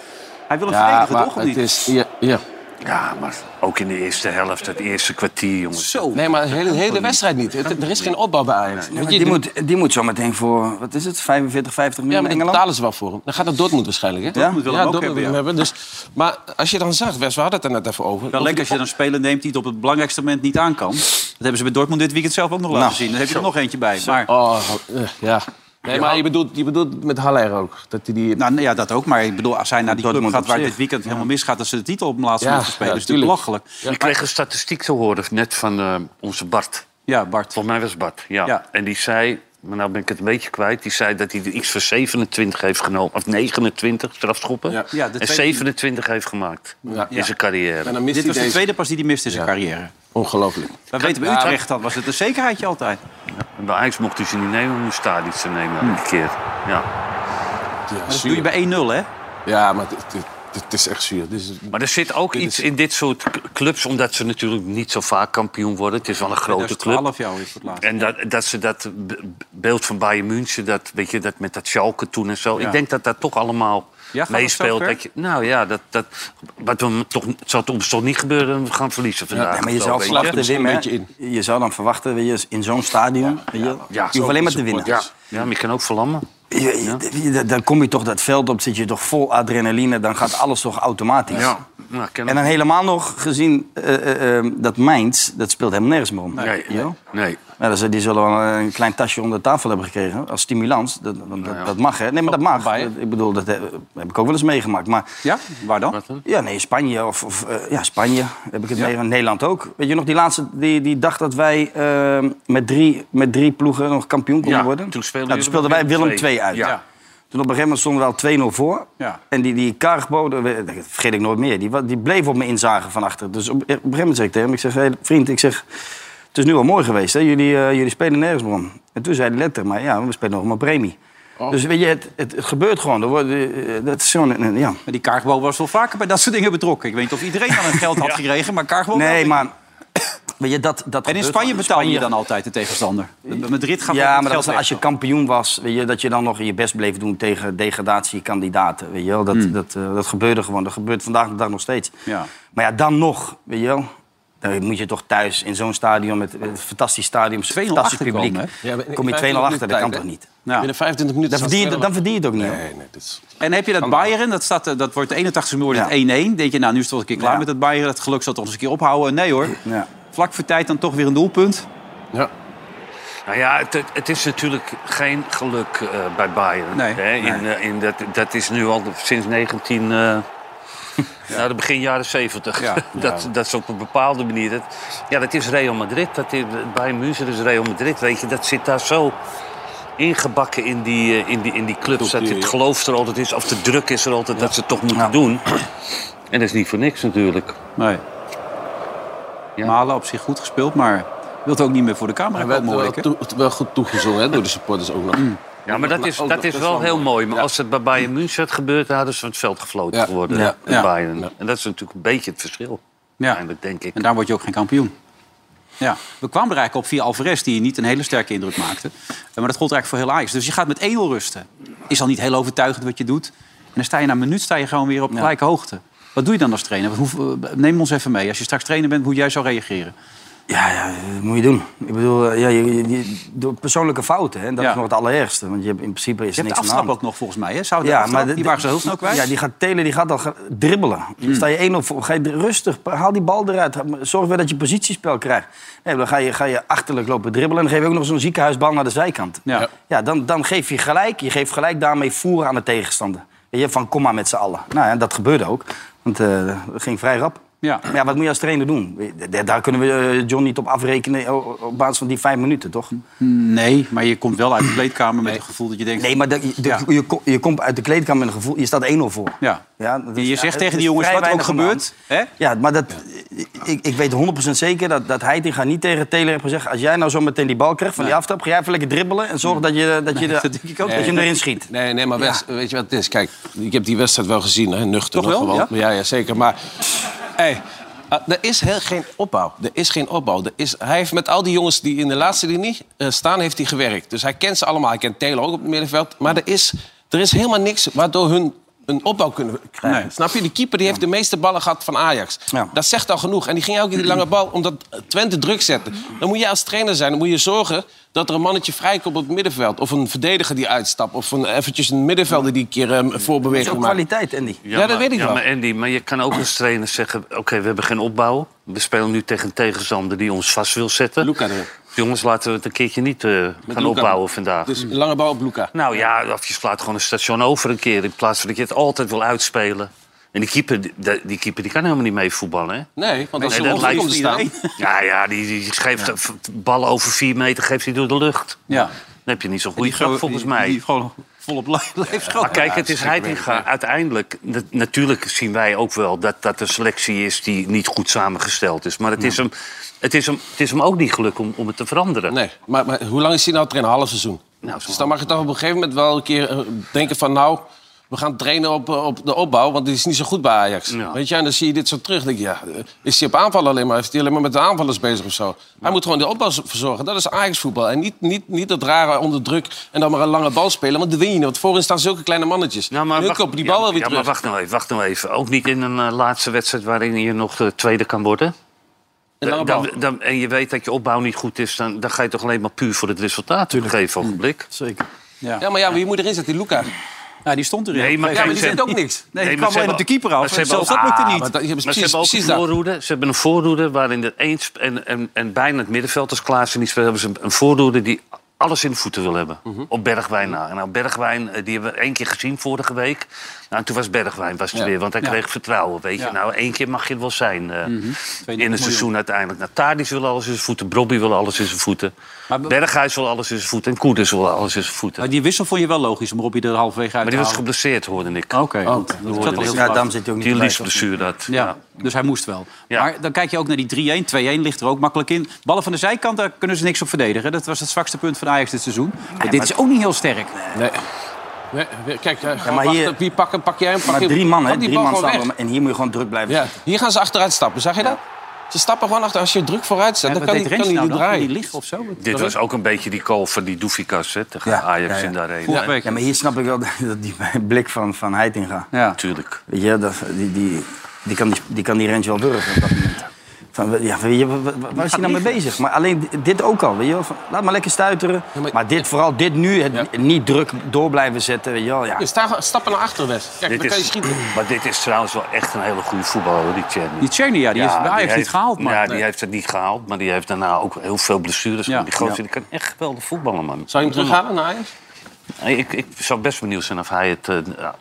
Speaker 2: Hij wil hem verdedigen,
Speaker 7: maar
Speaker 2: toch? Of
Speaker 7: het
Speaker 2: niet?
Speaker 7: is... Ja, ja.
Speaker 4: Ja, maar ook in de eerste helft, het eerste kwartier, jongens.
Speaker 2: Zo.
Speaker 7: Nee, maar de hele, hele wedstrijd niet. Het- er is geen opbouw bij Ajax.
Speaker 3: Ja,
Speaker 7: Want
Speaker 3: maar
Speaker 7: je
Speaker 3: die, moet, die moet zo meteen voor, wat is het, 45, 50
Speaker 7: Ja,
Speaker 3: miljoen
Speaker 7: maar
Speaker 3: in
Speaker 7: daar
Speaker 3: Engeland?
Speaker 7: betalen ze wel voor hem. Dan gaat het Dortmund waarschijnlijk, hè?
Speaker 3: Dortmund wil hem ook
Speaker 7: Dortmund wil hem hebben, Dus, maar als je dan zag, Wes, we hadden het er net even over.
Speaker 2: Wel lekker als je dan een speler neemt die het op het belangrijkste moment niet aan kan. Dat hebben ze bij Dortmund dit weekend zelf ook nog
Speaker 7: Nou.
Speaker 2: laten zien. Dan heb je er nog eentje bij. Maar,
Speaker 7: Oh, eh, ja. Nee, maar je bedoelt, je bedoelt met Haller ook. Dat hij die...
Speaker 2: nou ja, dat ook. Maar ik bedoel, als hij naar die club
Speaker 3: Dortmund
Speaker 2: gaat
Speaker 3: op
Speaker 2: waar
Speaker 3: zich.
Speaker 2: dit weekend helemaal misgaat... dat ze de titel op de laatste
Speaker 7: Ja,
Speaker 2: moment spelen.
Speaker 7: ja,
Speaker 2: Dat is natuurlijk belachelijk.
Speaker 4: Ik kreeg een statistiek te horen net van eh, onze Bart.
Speaker 2: Ja, Bart.
Speaker 4: Volgens mij was het Bart, ja.
Speaker 2: Ja.
Speaker 4: En die zei, maar nou ben ik het een beetje kwijt... die zei dat hij er iets van 27 heeft genomen. Of 29 strafschoppen.
Speaker 7: Ja.
Speaker 2: Ja,
Speaker 4: en
Speaker 2: de tweede-
Speaker 4: 27 heeft gemaakt
Speaker 7: Ja.
Speaker 4: in zijn carrière.
Speaker 7: En dan
Speaker 2: Dit
Speaker 7: mist hij
Speaker 2: was de
Speaker 7: deze.
Speaker 2: tweede pas die hij miste in zijn
Speaker 7: Ja.
Speaker 2: carrière.
Speaker 7: Ongelooflijk.
Speaker 2: We weten bij Utrecht, dat was het een zekerheidje altijd.
Speaker 4: En bij Ajax mocht hij ze niet nemen, moest daar iets te nemen elke keer. Ja.
Speaker 7: Ja,
Speaker 2: Dat doe je
Speaker 7: zuur.
Speaker 2: bij 1-0, hè?
Speaker 7: Ja, maar het, het, het- het is echt zuur. Dit is-
Speaker 4: Maar er zit ook iets in dit soort c- clubs... omdat ze natuurlijk niet zo vaak kampioen worden. Het is wel een grote club.
Speaker 2: 12 jaar is het laatst.
Speaker 4: En dat, dat ze dat be- beeld van Bayern München, dat, weet je, dat met dat Schalke toen en zo. Ik denk dat dat toch allemaal
Speaker 2: gaat dat
Speaker 4: meespeelt.
Speaker 2: zo ver?
Speaker 4: Dat je, nou ja, dat, dat, maar toen, toch, het zal ons toch niet gebeuren. We gaan verliezen vandaag.
Speaker 3: Ja, maar je
Speaker 4: of zo,
Speaker 3: zou
Speaker 4: weet
Speaker 7: slacht
Speaker 3: verwachten,
Speaker 7: misschien
Speaker 3: Wim,
Speaker 7: een
Speaker 3: hè?
Speaker 7: beetje
Speaker 3: je zou dan verwachten weet je, in zo'n stadion. weet je, je hoeft alleen maar te winnen.
Speaker 4: Ja. ja, maar je kan ook verlammen.
Speaker 3: Je- je- je- Dan kom je toch dat veld op, zit je toch vol adrenaline, dan gaat alles toch automatisch.
Speaker 4: Ja. Nou, ik ken
Speaker 3: En dan helemaal nog gezien eh, eh, eh, dat Mainz, dat speelt helemaal nergens meer om.
Speaker 4: Nee,
Speaker 3: Ja.
Speaker 4: nee. nee.
Speaker 3: Ja, dus die zullen wel een klein tasje onder de tafel hebben gekregen als stimulans. Dat, want
Speaker 4: Nou
Speaker 3: dat, dat mag, hè? Nee, maar dat mag.
Speaker 7: Bayern.
Speaker 3: Ik bedoel, dat heb heb ik ook wel eens meegemaakt. Maar
Speaker 2: Ja? Waar dan?
Speaker 3: ja, nee, Spanje of, of eh, ja, Spanje heb ik het meegemaakt. Nederland ook. Weet je nog die laatste die, die dag dat wij eh, met, drie, met drie ploegen nog kampioen konden
Speaker 4: Ja,
Speaker 3: worden?
Speaker 4: toen speelden
Speaker 3: Nou,
Speaker 4: jullie
Speaker 3: speelden wij
Speaker 4: Willem
Speaker 3: Willem
Speaker 4: II.
Speaker 3: 2 uit.
Speaker 4: Ja.
Speaker 3: Toen op een gegeven moment stonden we al 2-0 voor.
Speaker 2: Ja.
Speaker 3: En die, die Carbo, dat weet- dat vergeet ik nooit meer, die, wa- die bleef op me inzagen van achter. Dus op, op een gegeven moment zei ik tegen hem, ik zeg, hey, vriend, ik zeg, het is nu al mooi geweest, hè? Jullie, eh, jullie spelen nergens meer om. En toen zei hij letterlijk, maar ja, we spelen nog om een premie.
Speaker 2: Oh.
Speaker 3: Dus weet je, het, het, het gebeurt gewoon. Er worden, eh, dat is zo'n... eh, ja.
Speaker 2: Maar die Kaartboom was wel vaker bij dat soort dingen betrokken. Ik weet niet of iedereen dan het
Speaker 3: (laughs)
Speaker 2: geld had gekregen, maar Kaartboom
Speaker 3: Nee, maar... (coughs) Weet je, dat, dat
Speaker 2: En in
Speaker 3: gebeurt
Speaker 2: Spanje
Speaker 3: gewoon.
Speaker 2: betaal je
Speaker 3: Spanje-
Speaker 2: dan altijd de tegenstander. Madrid gaat
Speaker 3: Ja,
Speaker 2: altijd
Speaker 3: maar
Speaker 2: geld
Speaker 3: dat was, als je kampioen was, weet je, dat je dan nog je best bleef doen tegen degradatiekandidaten. Weet je wel? Dat, dat, eh, dat gebeurde gewoon. Dat gebeurt vandaag de dag nog steeds.
Speaker 2: Ja.
Speaker 3: Maar ja, dan nog, weet je wel. Dan moet je toch thuis in zo'n stadion met met een fantastisch stadion, fantastisch publiek. kom je 2-0 achter, dat kan toch niet?
Speaker 7: Binnen 25
Speaker 3: Dan
Speaker 7: minuten. staat
Speaker 3: verdien je,
Speaker 7: het
Speaker 3: dan verdien je het ook niet.
Speaker 7: Nee,
Speaker 3: hoor.
Speaker 7: nee, dit is-
Speaker 2: En heb je dat Bayern, dat, staat, eh, dat wordt de 81ste minuut wordt het 1-1. Denk je, nou, nu is het wel een keer klaar met dat Bayern. Dat geluk zal toch eens een keer ophouden. Nee hoor. Vlak voor tijd dan toch weer een doelpunt.
Speaker 7: Ja.
Speaker 4: Nou ja, het, het is natuurlijk geen geluk eh, bij Bayern.
Speaker 2: Nee,
Speaker 4: hè? In, eh, in dat, dat is nu al sinds 19... eh
Speaker 2: (laughs)
Speaker 4: Nou, de begin jaren 70. (laughs)
Speaker 2: Ja.
Speaker 4: dat,
Speaker 2: Ja.
Speaker 4: dat is op een bepaalde manier... Dat, ja, dat is Real Madrid. Dat is, Bayern München is Real Madrid. Weet je, dat zit daar zo ingebakken in die, eh, in die, in die clubs. Dat het geloof er altijd is, of de druk is er altijd... dat ze het toch moeten doen. En dat is niet voor niks natuurlijk.
Speaker 2: Nee. Malen op zich goed gespeeld, maar wil het ook niet meer voor de camera
Speaker 7: Hij werd eh,
Speaker 2: komen, hoor
Speaker 7: wel,
Speaker 2: ik, hè? Mm.
Speaker 7: toe- wel goed toegezongen hè, door de supporters ook nog.
Speaker 4: Ja, maar dat is,
Speaker 7: ook
Speaker 4: dat is wel heel mooi. Maar als het bij Bayern München had gebeurd... dan hadden ze van het veld gefloten
Speaker 2: Ja.
Speaker 4: geworden.
Speaker 2: Ja.
Speaker 4: in
Speaker 2: Ja.
Speaker 4: Bayern. En dat is natuurlijk een beetje het verschil.
Speaker 2: Ja.
Speaker 4: Eigenlijk, denk ik.
Speaker 2: En daar word je ook geen kampioen. Ja, we kwamen er eigenlijk op via Alvarez, die niet een hele sterke indruk maakte. Eh, Maar dat gold eigenlijk voor heel Ajax. Dus je gaat met 1-0 rusten. Is al niet heel overtuigend wat je doet. En dan sta je na een minuut sta je gewoon weer op gelijke hoogte. Wat doe je dan als trainer? Wat hoe- eh, neem ons even mee. Als je straks trainer bent, hoe jij zou reageren.
Speaker 3: Ja, ja, dat moet je doen. Ik bedoel, eh, ja, je, je- je- door persoonlijke fouten, hè, dat
Speaker 2: Ja.
Speaker 3: is nog het allerergste. Want je hebt, in principe is
Speaker 2: Je
Speaker 3: er
Speaker 2: hebt
Speaker 3: niks
Speaker 2: de
Speaker 3: aan de hand.
Speaker 2: afstap ook nog volgens mij. Hè? Zou
Speaker 3: ja,
Speaker 2: maar
Speaker 3: de-
Speaker 2: die waren ze heel snel kwijt. Hmm.
Speaker 3: Ja, die gaat telen, die gaat al ge- dribbelen. Dan Sta je 1 op voor, ga je rustig, haal die bal eruit. Zorg weer dat je positiespel krijgt. Nee, dan ga je, ga je achterlijk lopen dribbelen en dan geef je ook nog zo'n ziekenhuisbal naar de zijkant.
Speaker 2: Ja.
Speaker 3: Ja, dan, dan geef je gelijk, je geeft gelijk daarmee voer aan de tegenstander. Weet je, van kom maar met z'n allen. Nou ja, dat gebeurde ook, want eh, dat ging vrij rap.
Speaker 2: Ja.
Speaker 3: Maar ja, wat moet je als trainer doen? Daar- Daar kunnen we eh, John niet op afrekenen oh, op basis van die vijf minuten, toch?
Speaker 2: Hm. Nee, maar je komt wel uit de kleedkamer met het gevoel dat je denkt...
Speaker 3: Nee, maar dat, je, de-
Speaker 2: Ja.
Speaker 3: je, ko- je komt uit de kleedkamer met een gevoel, je staat 1-0 voor.
Speaker 2: Ja.
Speaker 3: Ja, dat is-
Speaker 2: Je
Speaker 3: ja,
Speaker 2: zegt
Speaker 3: het
Speaker 2: tegen die
Speaker 3: is
Speaker 2: jongens
Speaker 3: vrij
Speaker 2: wat er ook
Speaker 3: weinig
Speaker 2: gebeurt. Hè?
Speaker 3: Ja, maar dat, Ik, ik weet 100% zeker dat, dat Heitinga niet tegen Taylor heeft gezegd... als jij nou zo meteen die bal krijgt van die aftrap... ga jij even lekker dribbelen en zorg dat je, dat je, de-
Speaker 2: dat denk ik ook
Speaker 3: dat je hem erin schiet.
Speaker 7: Nee, nee maar Wes, weet je wat het is? Kijk, ik heb die wedstrijd wel gezien, hè, nuchter.
Speaker 2: Toch wel,
Speaker 7: nog
Speaker 2: ja?
Speaker 7: gewoon. Ja? ja, zeker. Maar hey, eh, er is heel, geen opbouw. Er is geen opbouw. Er is, hij heeft met al die jongens die in de laatste linie eh, staan, heeft hij gewerkt. Dus hij kent ze allemaal. Hij kent Taylor ook op het middenveld. Maar er is, er is helemaal niks waardoor hun een opbouw kunnen krijgen.
Speaker 2: Nee.
Speaker 7: Snap je? Die keeper die heeft de meeste ballen gehad van Ajax.
Speaker 3: Ja.
Speaker 7: Dat zegt al genoeg. En die ging elke keer die lange bal omdat Twente druk zette. Dan moet je als trainer zijn. Dan moet je zorgen dat er een mannetje vrijkomt op het middenveld. Of een verdediger die uitstapt. Of een, eventjes een middenvelder die een keer ehm,
Speaker 3: Dat is
Speaker 7: voorbeweging
Speaker 3: ook
Speaker 7: maakt.
Speaker 3: kwaliteit, Andy.
Speaker 7: Ja, dat
Speaker 4: maar-
Speaker 7: weet ik
Speaker 4: ja,
Speaker 7: wel.
Speaker 4: Maar Andy, maar je kan ook als trainer zeggen... oké, we hebben geen opbouw. We spelen nu tegen een tegenstander die ons vast wil zetten.
Speaker 7: Luca erin.
Speaker 4: Jongens, laten we het een keertje niet eh, gaan
Speaker 7: Luca.
Speaker 4: opbouwen vandaag.
Speaker 7: Dus een lange bal op Luca.
Speaker 4: Nou ja, of je slaat gewoon een station over een keer... in plaats van dat je het altijd wil uitspelen. En die keeper, die, die keeper die kan helemaal niet mee voetballen, hè?
Speaker 7: Nee, want als
Speaker 4: Nee,
Speaker 7: ze
Speaker 4: dat
Speaker 7: nee,
Speaker 4: lijkt
Speaker 7: komt te staan...
Speaker 4: Ja, ja die, die geeft eh, v- ballen over vier meter geeft hij door de lucht.
Speaker 2: Ja.
Speaker 4: Dan heb je niet zo'n goede
Speaker 2: Die
Speaker 4: grap,
Speaker 2: gewoon-
Speaker 4: volgens
Speaker 2: die-
Speaker 4: mij.
Speaker 2: Die gewoon volop leefschool.
Speaker 4: Maar kijk, het is Heitinga. Uiteindelijk, na- natuurlijk zien wij ook wel dat dat een selectie is die niet goed samengesteld is. Maar het, is, hem, het, is, hem, het is hem ook niet gelukt om, om het te veranderen.
Speaker 7: Nee, maar, maar hoe lang is hij nou trainen? Een half seizoen.
Speaker 4: Nou,
Speaker 7: dus dan mag je toch op een gegeven moment wel een keer eh, denken van... nou, we gaan trainen op, eh, op de opbouw, want dit is niet zo goed bij Ajax.
Speaker 4: Ja.
Speaker 7: Weet je, en dan zie je dit zo terug. denk je, ja, eh, is hij op aanvallen alleen maar? Is hij alleen maar met de aanvallers bezig of zo? Hij moet gewoon de opbouw z- verzorgen. Dat is Ajax-voetbal. En niet, niet, niet dat rare onder druk en dan maar een lange bal spelen. Want dan win je niet, want voorin staan zulke kleine mannetjes.
Speaker 4: Nou, maar
Speaker 7: nu
Speaker 4: wacht-
Speaker 7: kopen die
Speaker 4: ja,
Speaker 7: bal weer
Speaker 4: ja,
Speaker 7: terug.
Speaker 4: maar wacht nou even, wacht nou even. Ook niet in een eh, laatste wedstrijd waarin je nog eh, tweede kan worden.
Speaker 7: Een lange bal.
Speaker 4: Dan, dan, en je weet dat je opbouw niet goed is, dan, dan ga je toch alleen maar puur voor het resultaat op een gegeven ogenblik.
Speaker 7: Hm.
Speaker 3: Zeker.
Speaker 7: ja, maar ja, wie moet erin zetten? Die Luca.
Speaker 2: Ja, die stond erin.
Speaker 4: Nee, maar
Speaker 2: Ja,
Speaker 7: Ja, maar
Speaker 4: kijk,
Speaker 7: die
Speaker 4: ze-
Speaker 7: zit ook niks.
Speaker 4: Nee,
Speaker 2: Nee, die
Speaker 4: maar
Speaker 2: kwam
Speaker 4: ze
Speaker 2: alleen op de
Speaker 4: hebben-
Speaker 2: keeper
Speaker 4: maar
Speaker 2: af.
Speaker 4: ze
Speaker 2: En
Speaker 4: hebben
Speaker 2: zelfs
Speaker 4: ook-
Speaker 2: dat lukte
Speaker 7: Ah,
Speaker 2: niet.
Speaker 7: maar dat- je hebt
Speaker 4: Maar ze
Speaker 7: precies,
Speaker 4: hebben ook
Speaker 7: precies
Speaker 4: een
Speaker 7: dat.
Speaker 4: voorroede. Ze hebben een voorroede waarin er eens en, en, en bijna het middenveld als Klaassen niet speelt, hebben ze een- een voorroede die alles in de voeten wil hebben.
Speaker 2: Mhm.
Speaker 4: Op Bergwijn na. En Nou, Bergwijn, eh, die hebben we één keer gezien vorige week. Nou, en toen was Bergwijn was er
Speaker 7: Ja.
Speaker 4: weer, want hij
Speaker 2: Ja.
Speaker 4: kreeg vertrouwen. Weet je,
Speaker 2: Ja. Mhm.
Speaker 4: nou, één keer mag je het wel zijn eh, in
Speaker 2: miljoen.
Speaker 4: het seizoen uiteindelijk. Nou, Tadic wil alles in zijn voeten, Brobby wil alles in zijn voeten.
Speaker 2: Maar-
Speaker 4: Berghuis wil alles in zijn voeten en Koeders wil alles in zijn voeten.
Speaker 2: Maar die wissel vond je wel logisch om Robbie er halverwege
Speaker 4: Maar
Speaker 2: uit te
Speaker 4: die was
Speaker 2: halen.
Speaker 4: geblesseerd, hoorde ik.
Speaker 2: Oké,
Speaker 3: Oh,
Speaker 2: goed.
Speaker 4: dat
Speaker 2: dat
Speaker 4: hoorde
Speaker 2: zat al
Speaker 4: ik.
Speaker 2: heel
Speaker 3: Ja,
Speaker 2: vast.
Speaker 3: daarom zit hij ook niet
Speaker 4: Die
Speaker 3: erbij.
Speaker 4: liesblessure, dat.
Speaker 2: Ja, dus hij moest wel.
Speaker 4: Ja.
Speaker 2: Maar dan kijk je ook naar die 3-1. 2-1 ligt er ook makkelijk in. Ballen van de zijkant, daar kunnen ze niks op verdedigen. Dat was het zwakste punt van Ajax dit seizoen. Maar dit is ook niet heel sterk.
Speaker 7: Nee. We- we- Kijk, ja,
Speaker 3: Ja, maar hier-
Speaker 7: wie pak, hem, pak jij hem? Pak
Speaker 3: Maar
Speaker 7: hem.
Speaker 3: drie man, hè?
Speaker 7: Pak die
Speaker 3: Drie
Speaker 7: bal
Speaker 3: man staan.
Speaker 7: gewoon weg.
Speaker 3: allemaal- En hier moet je gewoon druk blijven.
Speaker 7: Ja, hier gaan ze achteruit stappen, zag je dat? Ze stappen gewoon achter. Als je druk vooruit staat,
Speaker 4: Ja,
Speaker 7: dan
Speaker 4: wat
Speaker 7: kan
Speaker 4: deed
Speaker 7: hij kan
Speaker 4: Rens nou
Speaker 7: die niet
Speaker 4: dan?
Speaker 7: draaien.
Speaker 4: Ging
Speaker 2: liggen of zo?
Speaker 4: Dit was ook een beetje die call van die Doefikas, hè? Tegen Ajax in de arena.
Speaker 3: Ja. Ja, maar hier snap ik wel (laughs) dat dat die blik van, van Heitinga.
Speaker 2: Ja,
Speaker 4: tuurlijk.
Speaker 3: Weet je, dat, die, die, die, kan die, die kan die range wel burgen op dat moment. Van, ja, weet je, wa- wa- waar is hij nou mee bezig? Maar alleen dit ook al, weet je wel. Van, Laat maar lekker stuiteren. maar, dit, vooral dit nu, het niet druk door blijven zetten, weet je wel. Ja.
Speaker 7: Ja, sta- stappen naar achteren, Wes. Kijk,
Speaker 4: Dit
Speaker 7: dan kan je
Speaker 4: is-
Speaker 7: schieten.
Speaker 4: Maar dit is trouwens wel echt een hele goede voetballer, die Tjerni.
Speaker 2: Die Tjerni, ja, die is bij Ajax niet gehaald, maar-
Speaker 4: Ja,
Speaker 2: nee.
Speaker 4: die heeft het niet gehaald, maar die heeft daarna ook heel veel blessures. gehad. Die gozer
Speaker 2: Ja.
Speaker 4: die kan echt geweldig voetballen, man.
Speaker 7: Zou je hem terughalen naar Ajax?
Speaker 4: Nee, ik, ik zou best benieuwd zijn of hij het eh,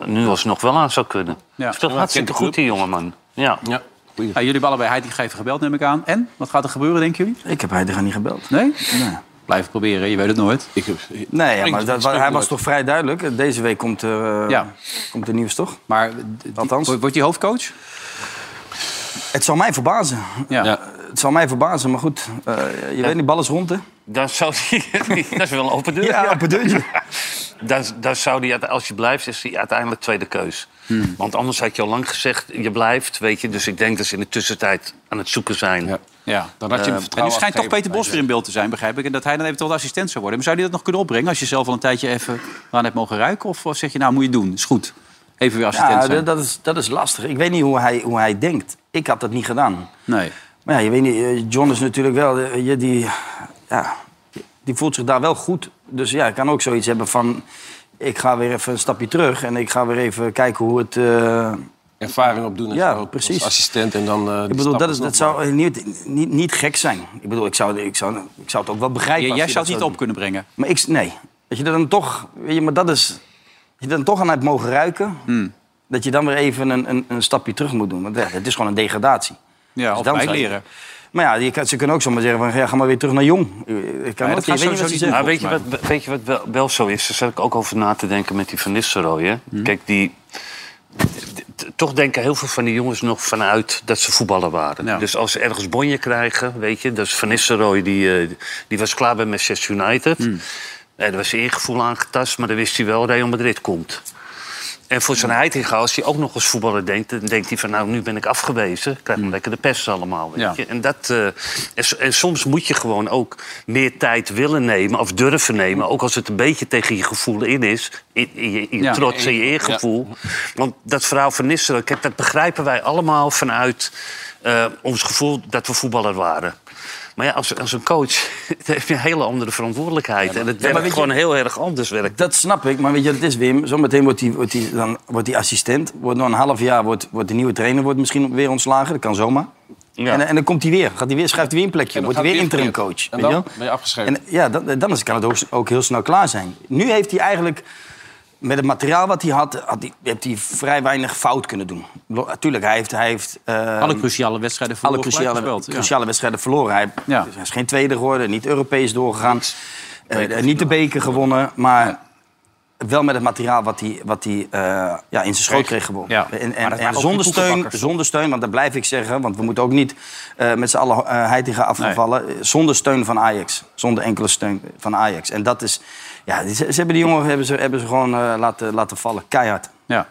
Speaker 4: nu alsnog wel aan zou kunnen.
Speaker 2: Ja.
Speaker 4: Ja. Speelt
Speaker 2: Ja,
Speaker 4: hartstikke
Speaker 2: kent de
Speaker 4: goed, die jongeman. Ja.
Speaker 7: Ja.
Speaker 2: Ja, Nou, jullie hebben allebei Heitinga even gebeld, neem ik aan. En? Wat gaat er gebeuren, denken jullie?
Speaker 3: Ik heb Heitinga niet gebeld.
Speaker 2: Nee? Blijf het proberen, je weet het nooit.
Speaker 3: Nee, ja,
Speaker 2: Springt-
Speaker 3: maar dat, wa-
Speaker 2: springt
Speaker 3: hij was
Speaker 2: nooit.
Speaker 3: toch vrij duidelijk. Deze week komt er, eh,
Speaker 2: Ja.
Speaker 3: komt er nieuws, toch?
Speaker 2: Maar
Speaker 3: Althans.
Speaker 2: wordt hij hoofdcoach?
Speaker 3: Het zal mij verbazen.
Speaker 2: Ja.
Speaker 3: Het zal mij verbazen, maar goed. eh, je weet niet, bal is rond, hè?
Speaker 4: Dan zou die, (laughs) dat is wel een open deur.
Speaker 3: Ja, open deurtje.
Speaker 4: (laughs) Dan, dan zou die, uite- als je blijft, is hij uiteindelijk tweede keus. Want anders had je al lang gezegd, je blijft, weet je. Dus ik denk dat ze in de tussentijd aan het zoeken zijn. Ja,
Speaker 2: dan had je Eh, en nu schijnt toch Peter Bos weer in beeld te zijn, begrijp ik. En dat hij dan eventueel de assistent zou worden. Maar zou hij dat nog kunnen opbrengen als je zelf al een tijdje even aan hebt mogen ruiken? Of zeg je, nou moet je doen, is goed. Even weer assistent
Speaker 3: Ja,
Speaker 2: zijn.
Speaker 3: dat, dat is, dat is lastig. Ik weet niet hoe hij, hoe hij denkt. Ik had dat niet gedaan.
Speaker 2: Nee.
Speaker 3: Maar ja, je weet niet, eh, John is natuurlijk wel... eh, weet je, die, ja, die voelt zich daar wel goed. Dus ja, kan ook zoiets hebben van... Ik ga weer even een stapje terug en ik ga weer even kijken hoe het... eh,
Speaker 7: Ervaring opdoen als,
Speaker 3: Ja,
Speaker 7: als
Speaker 3: precies.
Speaker 7: assistent en dan... eh, die
Speaker 3: ik bedoel,
Speaker 7: stappen
Speaker 3: dat, is,
Speaker 7: nog
Speaker 3: dat zou eh, niet, niet, niet gek zijn. Ik bedoel, ik zou, ik zou, ik zou het ook wel begrijpen.
Speaker 2: Jij-
Speaker 3: als
Speaker 2: jij
Speaker 3: je
Speaker 2: zou
Speaker 3: dat
Speaker 2: het niet op kunnen brengen.
Speaker 3: Maar ik, nee. Dat je er dan toch, weet je, maar dat is, dat je er dan toch aan hebt mogen ruiken,
Speaker 2: Hmm.
Speaker 3: dat je dan weer even een, een, een stapje terug moet doen. Want ja, het is gewoon een degradatie.
Speaker 2: Ja,
Speaker 3: Dus
Speaker 2: of
Speaker 3: dan
Speaker 2: bij
Speaker 3: zou je-
Speaker 2: leren.
Speaker 3: Maar ja, je kan- ze kunnen ook zomaar zeggen van, ja, ga maar weer terug naar jong. Eh, Ik kan
Speaker 4: Ja,
Speaker 3: ook
Speaker 4: dat
Speaker 3: niet.
Speaker 4: gaat
Speaker 3: Ik weet niet
Speaker 4: sowieso
Speaker 3: wat ze
Speaker 4: niet
Speaker 3: zeggen.
Speaker 4: doen. weet, je wat, weet je wat wel, wel zo is? Daar zat ik ook over na te denken met die Van Nistelrooy. hè. Kijk, die... t- Toch denken heel veel van die jongens nog vanuit dat ze voetballer waren. Dus als ze ergens bonje krijgen, weet je... Dus Van Nistelrooy, die, eh, die was klaar bij Manchester United. Eh, daar was zijn eergevoel aangetast, maar dan wist hij wel... Real Madrid komt. En voor zijn Heitinga, als hij ook nog als voetballer denkt... dan denkt hij van, nou, nu ben ik afgewezen. Ik krijg hem lekker de pest allemaal, weet
Speaker 2: Hmm. Ja.
Speaker 4: je. En, dat, eh, en, s- en soms moet je gewoon ook meer tijd willen nemen... of durven nemen, ook als het een beetje tegen je gevoel in is. In, in je, in je
Speaker 2: Hmm. Ja.
Speaker 4: trots en je eergevoel. Want dat verhaal van Nistelrooy, kijk, dat begrijpen wij allemaal... vanuit eh, ons gevoel dat we voetballer waren. Maar ja, als, als een coach (laughs) dan heb je een hele andere verantwoordelijkheid. en het
Speaker 3: maar
Speaker 4: werkt
Speaker 3: weet je-
Speaker 4: gewoon heel erg anders. Werkt.
Speaker 3: Dat snap ik, maar weet je, dat is Wim. Zometeen wordt hij wordt die, dan wordt die assistent. Wordt nog een half jaar wordt, wordt de nieuwe trainer wordt misschien weer ontslagen. Dat kan zomaar.
Speaker 4: Ja.
Speaker 3: En, en dan komt hij weer. Gaat hij weer schrijft hij weer een plekje.
Speaker 7: En dan
Speaker 3: Wordt hij weer
Speaker 7: gaat hij
Speaker 3: interim
Speaker 7: weer
Speaker 3: coach.
Speaker 7: verkeerd.
Speaker 3: weet
Speaker 7: En
Speaker 3: je
Speaker 7: dan
Speaker 3: wel?
Speaker 7: ben je afgeschreven.
Speaker 3: En, ja, dan, dan is- kan het ook, ook heel snel klaar zijn. Nu heeft hij eigenlijk... Met het materiaal wat hij had, had hij, heeft hij vrij weinig fout kunnen doen. Lo- Tuurlijk, hij heeft... Hij heeft eh,
Speaker 2: Alle cruciale wedstrijden
Speaker 3: alle
Speaker 2: verloren, gelijk
Speaker 3: cruciale,
Speaker 2: gespeeld, ja.
Speaker 3: cruciale wedstrijden verloren. Hij
Speaker 2: Ja.
Speaker 3: hij is geen tweede geworden, niet Europees doorgegaan. eh, niet de beker gewonnen, maar wel met het materiaal wat hij, wat hij eh, ja, in zijn schoot kreeg gewonnen.
Speaker 2: Ja.
Speaker 3: En,
Speaker 2: Maar
Speaker 3: en,
Speaker 2: dat
Speaker 3: en
Speaker 2: waren ook
Speaker 3: zonder,
Speaker 2: geen
Speaker 3: steun,
Speaker 2: koekenbakkers.
Speaker 3: zonder steun, want dat blijf ik zeggen... want we moeten ook niet eh, met z'n allen eh, heitinga afvallen... eh, zonder steun van Ajax. Zonder enkele steun van Ajax. En dat is... Ja, ze, ze hebben die jongen hebben ze, hebben ze gewoon eh, laten, laten vallen. Keihard.
Speaker 2: Ja.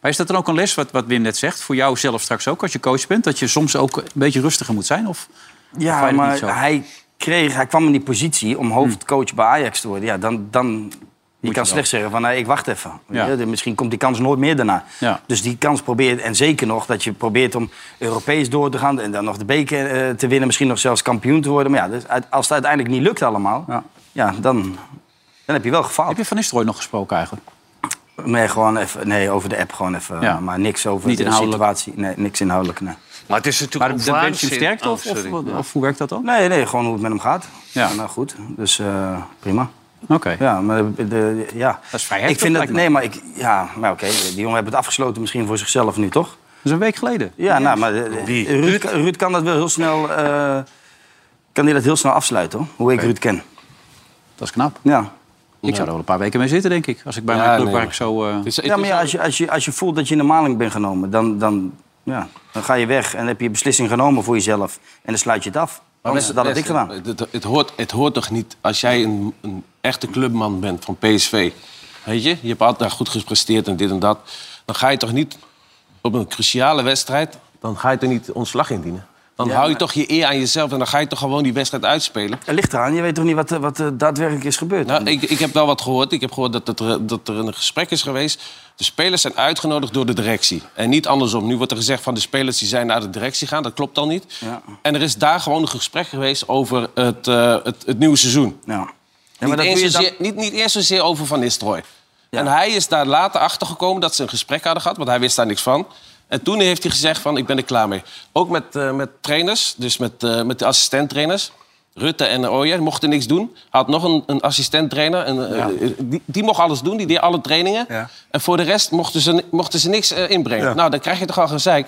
Speaker 2: Maar is dat dan ook een les, wat, wat Wim net zegt, voor jou zelf straks ook als je coach bent? Dat je soms ook een beetje rustiger moet zijn? Of
Speaker 3: Ja,
Speaker 2: of vind je dat
Speaker 3: maar
Speaker 2: niet zo?
Speaker 3: hij, kreeg, hij kwam in die positie om hoofdcoach bij Ajax te worden. Ja, dan, dan je kan
Speaker 2: Hmm. wel.
Speaker 3: slecht zeggen van, nee, ik wacht even.
Speaker 2: Ja.
Speaker 3: Ja, de- misschien komt die kans nooit meer daarna.
Speaker 2: Ja.
Speaker 3: Dus die kans probeert, en zeker nog dat je probeert om Europees door te gaan... en dan nog de beker eh, te winnen, misschien nog zelfs kampioen te worden. Maar ja, dus uit- als het uiteindelijk niet lukt allemaal, ja.
Speaker 2: Ja.
Speaker 3: dan, dan heb je wel gefaald.
Speaker 2: Heb je Van Nistelrooy nog gesproken eigenlijk?
Speaker 3: Nee, gewoon even, nee, over de app gewoon even,
Speaker 2: Ja.
Speaker 3: maar niks over
Speaker 2: Niet
Speaker 3: de
Speaker 2: inhoudelijk.
Speaker 3: situatie. Nee, niks inhoudelijk, nee.
Speaker 4: Maar het is natuurlijk
Speaker 2: Maar
Speaker 4: ook
Speaker 2: dan wens je hem
Speaker 4: waanzin-
Speaker 2: sterkte
Speaker 4: Oh,
Speaker 2: of, of,
Speaker 4: sorry.
Speaker 2: wat- of hoe werkt dat dan?
Speaker 3: Nee, nee, gewoon hoe het met hem gaat.
Speaker 2: Ja.
Speaker 3: Nou goed, dus eh, prima.
Speaker 2: Oké.
Speaker 3: Ja, maar de, de- ja.
Speaker 2: Dat is vrijheid,
Speaker 3: Ik vind
Speaker 2: toch,
Speaker 3: dat, nee,
Speaker 2: lijkt
Speaker 3: maar ik, ja, maar oké, die jongen hebben het afgesloten misschien voor zichzelf nu, toch?
Speaker 2: Dat is een week geleden.
Speaker 3: Ja, nou, maar eh,
Speaker 4: Wie?
Speaker 3: Ruud, Ruud kan dat wel heel snel, eh, kan die dat heel snel afsluiten, hoor. Hoe ik Ruud ken.
Speaker 2: Dat is knap.
Speaker 3: Ja.
Speaker 2: Ik zou er wel een paar weken mee zitten, denk ik. Als ik bij mijn club
Speaker 7: nee,
Speaker 2: waar
Speaker 7: maar-
Speaker 2: ik zo... eh,
Speaker 7: Het is- het
Speaker 3: Ja,
Speaker 7: is
Speaker 3: maar ja,
Speaker 7: ook-
Speaker 3: als je, als je, als je voelt dat je in de maling bent genomen, dan, dan, ja, dan ga je weg en heb je je beslissing genomen voor jezelf en dan sluit je het af. Anders, dat had ik
Speaker 7: Wesley,
Speaker 3: gedaan.
Speaker 7: Het, het, hoort, het hoort toch niet als jij een, een echte clubman bent van PSV. Weet je, je hebt altijd nou, goed gepresteerd en dit en dat. Dan ga je toch niet op een cruciale wedstrijd... dan ga je toch niet ontslag indienen? Dan
Speaker 3: Ja,
Speaker 7: hou je
Speaker 3: maar-
Speaker 7: toch je eer aan jezelf en dan ga je toch gewoon die wedstrijd uitspelen?
Speaker 3: Er ligt eraan, je weet toch niet wat, eh, wat eh, daadwerkelijk is gebeurd?
Speaker 7: Nou, ik, ik heb wel wat gehoord. Ik heb gehoord dat, het er, dat er een gesprek is geweest. De spelers zijn uitgenodigd door de directie. En niet andersom. Nu wordt er gezegd van de spelers die zijn naar de directie gaan. Dat klopt al niet.
Speaker 3: Ja.
Speaker 7: En er is daar gewoon een gesprek geweest over het, eh, het, het nieuwe seizoen.
Speaker 3: maar dat
Speaker 7: niet, eens
Speaker 3: doe je dan-
Speaker 7: zozeer, niet, niet eerst zozeer over Van Nistelrooy. En hij is daar later achter gekomen dat ze een gesprek hadden gehad, want hij wist daar niks van. En toen heeft hij gezegd van, ik ben er klaar mee. Ook met, eh, met trainers, dus met, eh, met de assistenttrainers. Rutte en Ooyer mochten niks doen. Hij had nog een, een assistenttrainer. En, eh,
Speaker 2: Ja.
Speaker 7: eh, die, die mocht alles doen, die deed alle trainingen. En voor de rest mochten ze, mochten ze niks eh, inbrengen.
Speaker 3: Ja.
Speaker 7: Nou, dan krijg je toch al gezeik.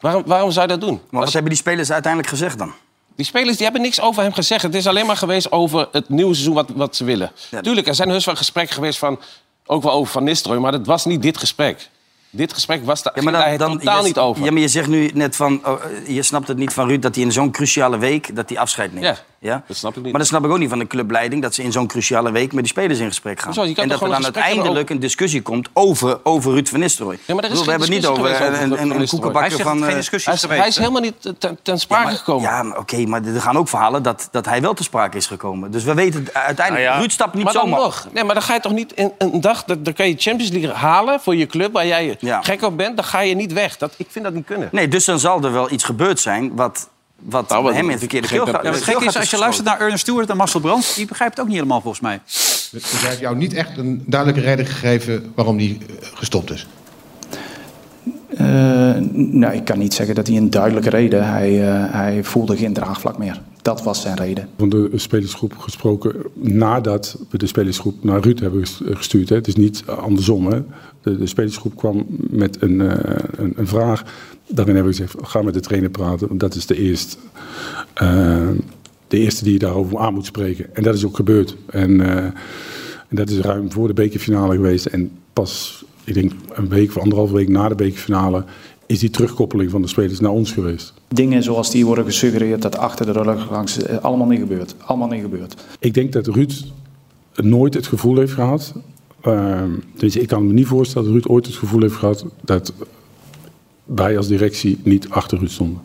Speaker 7: Waarom, waarom zou je dat doen?
Speaker 3: Maar wat hebben die spelers uiteindelijk gezegd dan?
Speaker 7: Die spelers die hebben niks over hem gezegd. Het is alleen maar geweest over het nieuwe seizoen wat, wat ze willen. Tuurlijk, er zijn heus wel gesprekken geweest van... ook wel over Van Nistelrooy, maar dat was niet dit gesprek. Dit gesprek was daar, ging daar totaal
Speaker 3: je,
Speaker 7: niet over.
Speaker 3: Ja, maar je zegt nu net van, oh, eh, je snapt het niet van Ruud... dat hij in zo'n cruciale week dat hij afscheid neemt.
Speaker 7: Ja,
Speaker 3: dat
Speaker 7: snap ik niet.
Speaker 3: Maar dat snap ik ook niet van de clubleiding... dat ze in zo'n cruciale week met die spelers in gesprek gaan.
Speaker 7: Hoezo? Je kan
Speaker 3: en dat
Speaker 7: toch
Speaker 3: er
Speaker 7: gewoon
Speaker 3: dan
Speaker 7: een gesprek hebben
Speaker 3: uiteindelijk een discussie komt over, over Ruud van Nistelrooy.
Speaker 7: Ja, maar er is
Speaker 3: Ik bedoel, we
Speaker 7: geen
Speaker 3: hebben het niet
Speaker 7: discussie
Speaker 3: over eh,
Speaker 7: geweest
Speaker 3: een,
Speaker 7: over
Speaker 3: een, een
Speaker 7: Van Nistelrooy.
Speaker 3: koekenbakker
Speaker 7: Hij zegt
Speaker 3: van...
Speaker 7: geen
Speaker 3: eh,
Speaker 7: discussie Hij is- geweest, hij is hè? helemaal niet ten, sprake gekomen.
Speaker 3: Ja, maar oké, maar er gaan ook verhalen dat, dat hij wel te sprake is gekomen. Dus we weten het uiteindelijk...
Speaker 2: Nou
Speaker 3: Ruud stapt niet
Speaker 7: maar dan
Speaker 3: zomaar...
Speaker 7: nog. Nee, maar dan ga je toch niet in, een dag... dat- Dan kan je Champions League halen voor je club waar jij gek op bent. Dan ga je niet weg. Dat, ik vind dat niet kunnen.
Speaker 3: Nee, dus dan zal er wel iets gebeurd zijn wat, wat
Speaker 7: Nou, wat-
Speaker 3: hem in het verkeerde
Speaker 7: gek
Speaker 3: keel
Speaker 7: dat-
Speaker 3: gaat. dus
Speaker 2: Ja, wat gek is, als je luistert naar Ernest Stewart en Marcel Brands... die begrijpt het ook niet helemaal, volgens mij.
Speaker 12: Dus hij heeft jou niet echt een duidelijke reden gegeven waarom die eh, gestopt is.
Speaker 13: Eh, nou, ik kan niet zeggen dat hij een duidelijke reden. Hij, eh, hij voelde geen draagvlak meer. Dat was zijn reden.
Speaker 14: Van de spelersgroep gesproken nadat we de spelersgroep naar Ruud hebben ges- eh, gestuurd. Hè. Het is niet eh, andersom. Hè. De, de spelersgroep kwam met een, eh, een, een vraag. Daarin hebben we gezegd, ga met de trainer praten. Want dat is de eerste, eh, de eerste die je daarover aan moet spreken. En dat is ook gebeurd. En, eh, en dat is ruim voor de bekerfinale geweest. En pas, ik denk een week of anderhalf week na de bekerfinale... is die terugkoppeling van de spelers naar ons geweest.
Speaker 13: Dingen zoals die worden gesuggereerd dat achter de rug langs eh, allemaal niet gebeurt. Allemaal niet gebeurd.
Speaker 14: Ik denk dat Ruud nooit het gevoel heeft gehad. ehm, dus ik kan me niet voorstellen dat Ruud ooit het gevoel heeft gehad dat wij als directie niet achter Ruud stonden.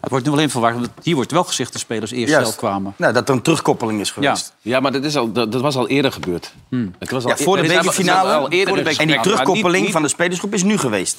Speaker 2: Het wordt nu wel in verwacht, want hier wordt wel gezegd... de spelers eerst
Speaker 14: Juist.
Speaker 2: zelf kwamen.
Speaker 3: Nou, dat er een terugkoppeling is
Speaker 2: Ja.
Speaker 3: geweest.
Speaker 7: Ja, maar dat, is al, dat, dat was al eerder gebeurd. Het was
Speaker 3: Hmm.
Speaker 7: al
Speaker 3: Ja, voor de
Speaker 7: eer- er is al- er is al
Speaker 3: bekerfinale.
Speaker 7: eerder een
Speaker 3: En
Speaker 7: gesprek,
Speaker 3: die
Speaker 7: maar niet-
Speaker 3: terugkoppeling
Speaker 7: niet-
Speaker 3: van de spelersgroep is nu geweest.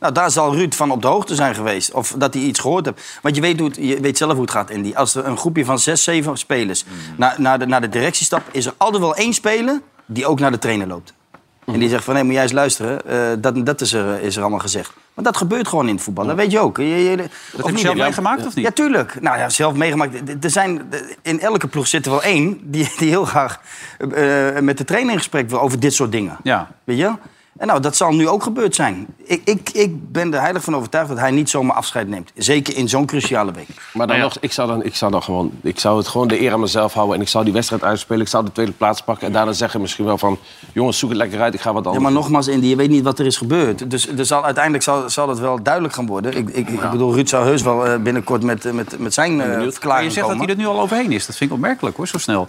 Speaker 3: Nou, daar zal Ruud van op de hoogte zijn geweest. Of dat hij iets gehoord heeft. Want je weet, hoe het, je weet zelf hoe het gaat, Andy. Als er een groepje van zes, zeven spelers
Speaker 7: Hmm.
Speaker 3: naar, naar, de, naar de directie stapt... is er altijd wel één speler die ook naar de trainer loopt. En
Speaker 2: Mhm.
Speaker 3: die zegt van, hé, moet jij eens luisteren. eh, dat dat is, er, is er allemaal gezegd. Maar dat gebeurt gewoon in het voetbal. Dat weet je ook. Je, je- of
Speaker 2: heb je
Speaker 3: niet,
Speaker 2: zelf
Speaker 3: hè?
Speaker 2: meegemaakt, of niet?
Speaker 3: Ja, tuurlijk. Nou ja, zelf meegemaakt. D- d- Er zijn, d- in elke ploeg zit er wel één die, (laughs) die heel graag eh, met de trainer in gesprek wil over dit soort dingen.
Speaker 2: Ja.
Speaker 3: Weet je? En nou, dat zal nu ook gebeurd zijn. Ik, ik, ik ben er heilig van overtuigd dat hij niet zomaar afscheid neemt. Zeker in zo'n cruciale week.
Speaker 7: Maar dan nog, ik zou, dan, ik, zou dan gewoon, ik zou het gewoon de eer aan mezelf houden. En ik zou die wedstrijd uitspelen. Ik zou de tweede plaats pakken. En daarna zeggen misschien wel van... jongens, zoek het lekker uit. Ik ga wat
Speaker 3: Ja,
Speaker 7: anders
Speaker 3: maar
Speaker 2: Oh.
Speaker 7: doen.
Speaker 3: nogmaals, Indy, je weet niet wat er is gebeurd. Dus, dus zal, uiteindelijk zal, zal dat wel duidelijk gaan worden. Ik, ik, ik bedoel, Ruud zou heus wel eh, binnenkort met, eh, met, met zijn eh, verklaring komen.
Speaker 2: Maar je zegt dat hij er nu al overheen is. Dat vind ik opmerkelijk, hoor, zo snel.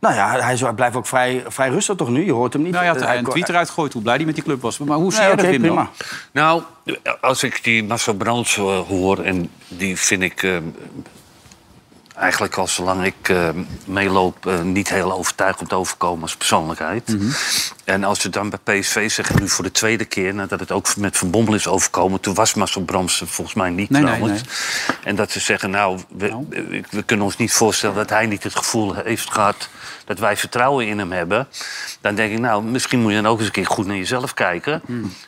Speaker 3: Nou ja, hij, is- hij blijft ook vrij, vrij rustig toch nu? Je hoort hem niet.
Speaker 2: Nou ja, dat
Speaker 3: Eh,
Speaker 2: hij een tweet eruit gooit hoe blij hij met die club was. Maar hoe zie
Speaker 3: Nee,
Speaker 2: jij
Speaker 3: oké,
Speaker 2: dat, Wim, dan?
Speaker 3: prima.
Speaker 4: Nou, als ik die Marcel Brands eh, hoor, en die vind ik eh, eigenlijk al zolang ik eh, meeloop eh, niet heel overtuigend overkomen als persoonlijkheid.
Speaker 2: Mhm.
Speaker 4: En als ze dan bij PSV zeggen, nu voor de tweede keer, nadat het ook met Van Bommel is overkomen, toen was Marcel Brands er volgens mij niet
Speaker 2: Nee, nee,
Speaker 4: trouwens. En dat ze zeggen, nou, we, we- we kunnen ons niet voorstellen dat hij niet het gevoel heeft gehad dat wij vertrouwen in hem hebben. Dan denk ik, nou, misschien moet je dan ook eens een keer goed naar jezelf kijken.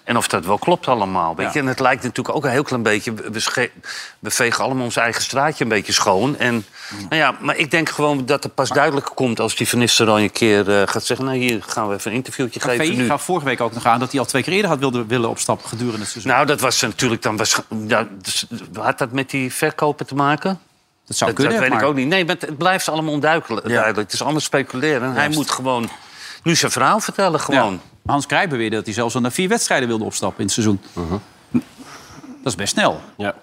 Speaker 4: En of dat wel klopt allemaal. Weet
Speaker 2: Hmm. Ja.
Speaker 4: je? En het lijkt natuurlijk ook een heel klein beetje. we- We, sche- we vegen allemaal ons eigen straatje een beetje schoon. En,
Speaker 2: Hmm.
Speaker 4: nou ja, maar ik denk gewoon dat het pas duidelijk komt als die Van Nistelrooy een keer eh, gaat zeggen. Nou, hier gaan we even een interviewtje
Speaker 2: Café
Speaker 4: geven. Nu.
Speaker 2: gaf vorige week ook nog aan dat hij al twee keer eerder had wilde, willen opstappen gedurende het seizoen.
Speaker 4: Nou, dat was natuurlijk dan waarschijnlijk. Ja, dus, had dat met die verkopen te maken?
Speaker 2: Dat zou kunnen,
Speaker 4: Dat weet
Speaker 2: maar-
Speaker 4: ik ook niet. Nee, maar het- het blijft allemaal onduidelijk. Het is allemaal speculeren. En hij
Speaker 2: Juist.
Speaker 4: moet gewoon nu zijn verhaal vertellen. Gewoon.
Speaker 2: Ja. Hans Krij beweerde dat hij zelfs al na vier wedstrijden wilde opstappen in het seizoen. Dat is best snel.
Speaker 7: Ja.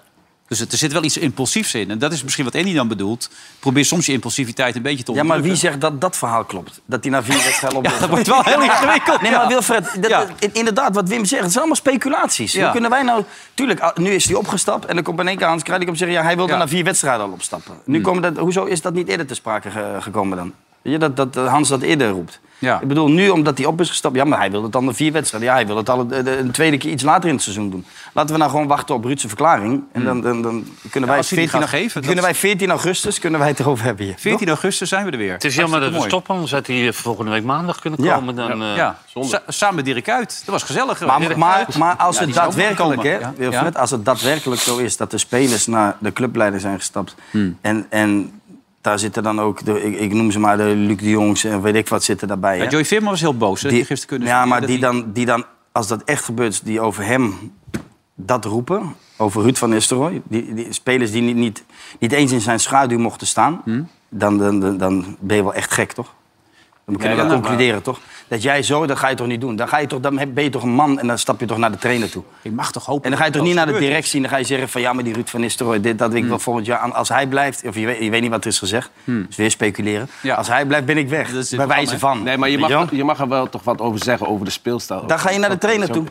Speaker 2: Dus het- er zit wel iets impulsiefs in. En dat is misschien wat Andy dan bedoelt. Probeer soms je impulsiviteit een beetje te
Speaker 3: Ja,
Speaker 2: ontdekken.
Speaker 3: maar wie zegt dat dat verhaal klopt? Dat hij na
Speaker 2: (laughs)
Speaker 3: vier wedstrijden op.
Speaker 2: Ja, dat wordt wel
Speaker 3: (laughs)
Speaker 2: heel ingewikkeld,
Speaker 3: Nee,
Speaker 2: ja.
Speaker 3: maar Wilfred, dat,
Speaker 2: Ja.
Speaker 3: in- inderdaad, wat Wim zegt, het zijn allemaal speculaties.
Speaker 2: Ja.
Speaker 3: Hoe kunnen wij nou... Tuurlijk, ah, nu is hij opgestapt en dan komt in één keer Hans Kruijlijk om te zeggen... Ja, hij wilde
Speaker 2: Ja.
Speaker 3: na vier wedstrijden al opstappen. Nu
Speaker 2: Hmm.
Speaker 3: komen dat, hoezo is dat niet eerder te sprake ge- gekomen dan? Weet je, dat, dat eh, Hans dat eerder roept.
Speaker 2: Ja.
Speaker 3: Ik bedoel, nu omdat hij op is gestapt... Ja, maar hij wilde het dan na vier wedstrijden. Ja, hij wilde het al een, een tweede keer iets later in het seizoen doen. Laten we nou gewoon wachten op Ruudse verklaring. En dan, dan, dan kunnen wij
Speaker 2: Hmm. als hij die
Speaker 3: 14
Speaker 2: gaat geven,
Speaker 3: Kunnen
Speaker 2: dat-
Speaker 3: wij 14 augustus kunnen wij het erover hebben hier.
Speaker 2: 14 augustus zijn we er weer.
Speaker 4: Het is jammer dat we
Speaker 2: Hartstikke mooi.
Speaker 4: stoppen, anders had hij eh, volgende week maandag kunnen
Speaker 3: Ja.
Speaker 4: komen. Dan, eh,
Speaker 2: ja. Sa- samen met Dirk Uit. Dat was gezellig.
Speaker 3: Maar,
Speaker 2: Dirk
Speaker 3: maar,
Speaker 2: Kuyt.
Speaker 3: maar als
Speaker 2: Ja,
Speaker 3: het
Speaker 2: die is ook
Speaker 3: daadwerkelijk, hè,
Speaker 2: gekomen. Ja.
Speaker 3: Wilfred, als het daadwerkelijk zo is dat de spelers naar de clubleider zijn gestapt.
Speaker 2: Hmm.
Speaker 3: En, en daar zitten dan ook, de, ik, ik noem ze maar de Luc de Jongs en weet ik wat zitten daarbij.
Speaker 2: Ja,
Speaker 3: hè.
Speaker 2: Joey Veerman was heel boos. hè, dat
Speaker 3: Die-
Speaker 2: hij gisteren kunnen
Speaker 3: ja,
Speaker 2: zien,
Speaker 3: maar
Speaker 2: dat
Speaker 3: die
Speaker 2: hij-
Speaker 3: dan, die dan, als dat echt gebeurt, die over hem dat roepen, over Ruud van Nistelrooy, die, die spelers die niet, niet, niet eens in zijn schaduw mochten staan,
Speaker 2: Hmm?
Speaker 3: dan, dan, dan, dan ben je wel echt gek, toch? Dan kunnen
Speaker 2: Ja, nou,
Speaker 3: we
Speaker 2: ja,
Speaker 3: concluderen, toch? Dat jij zo, dat ga je toch niet doen? Dan, ga je toch, dan ben je toch een man en dan stap je toch naar de trainer toe?
Speaker 2: Je mag toch hopen.
Speaker 3: En dan ga je
Speaker 2: dat Hmm.
Speaker 3: toch niet
Speaker 2: dat
Speaker 3: naar de
Speaker 2: gebeurt.
Speaker 3: directie en dan ga je zeggen van... ja, maar die Ruud van Nistelrooy, dit, dat ik wel volgend jaar... aan- als hij blijft, of je weet, je weet niet wat er is gezegd,
Speaker 2: Hmm.
Speaker 3: dus weer speculeren. Als hij blijft, ben ik weg, bij wijze van.
Speaker 7: Nee, maar je
Speaker 3: Weet
Speaker 7: mag,
Speaker 3: wel?
Speaker 7: je mag er wel toch wat over zeggen over de speelstijl.
Speaker 3: Dan ga je naar de trainer toe.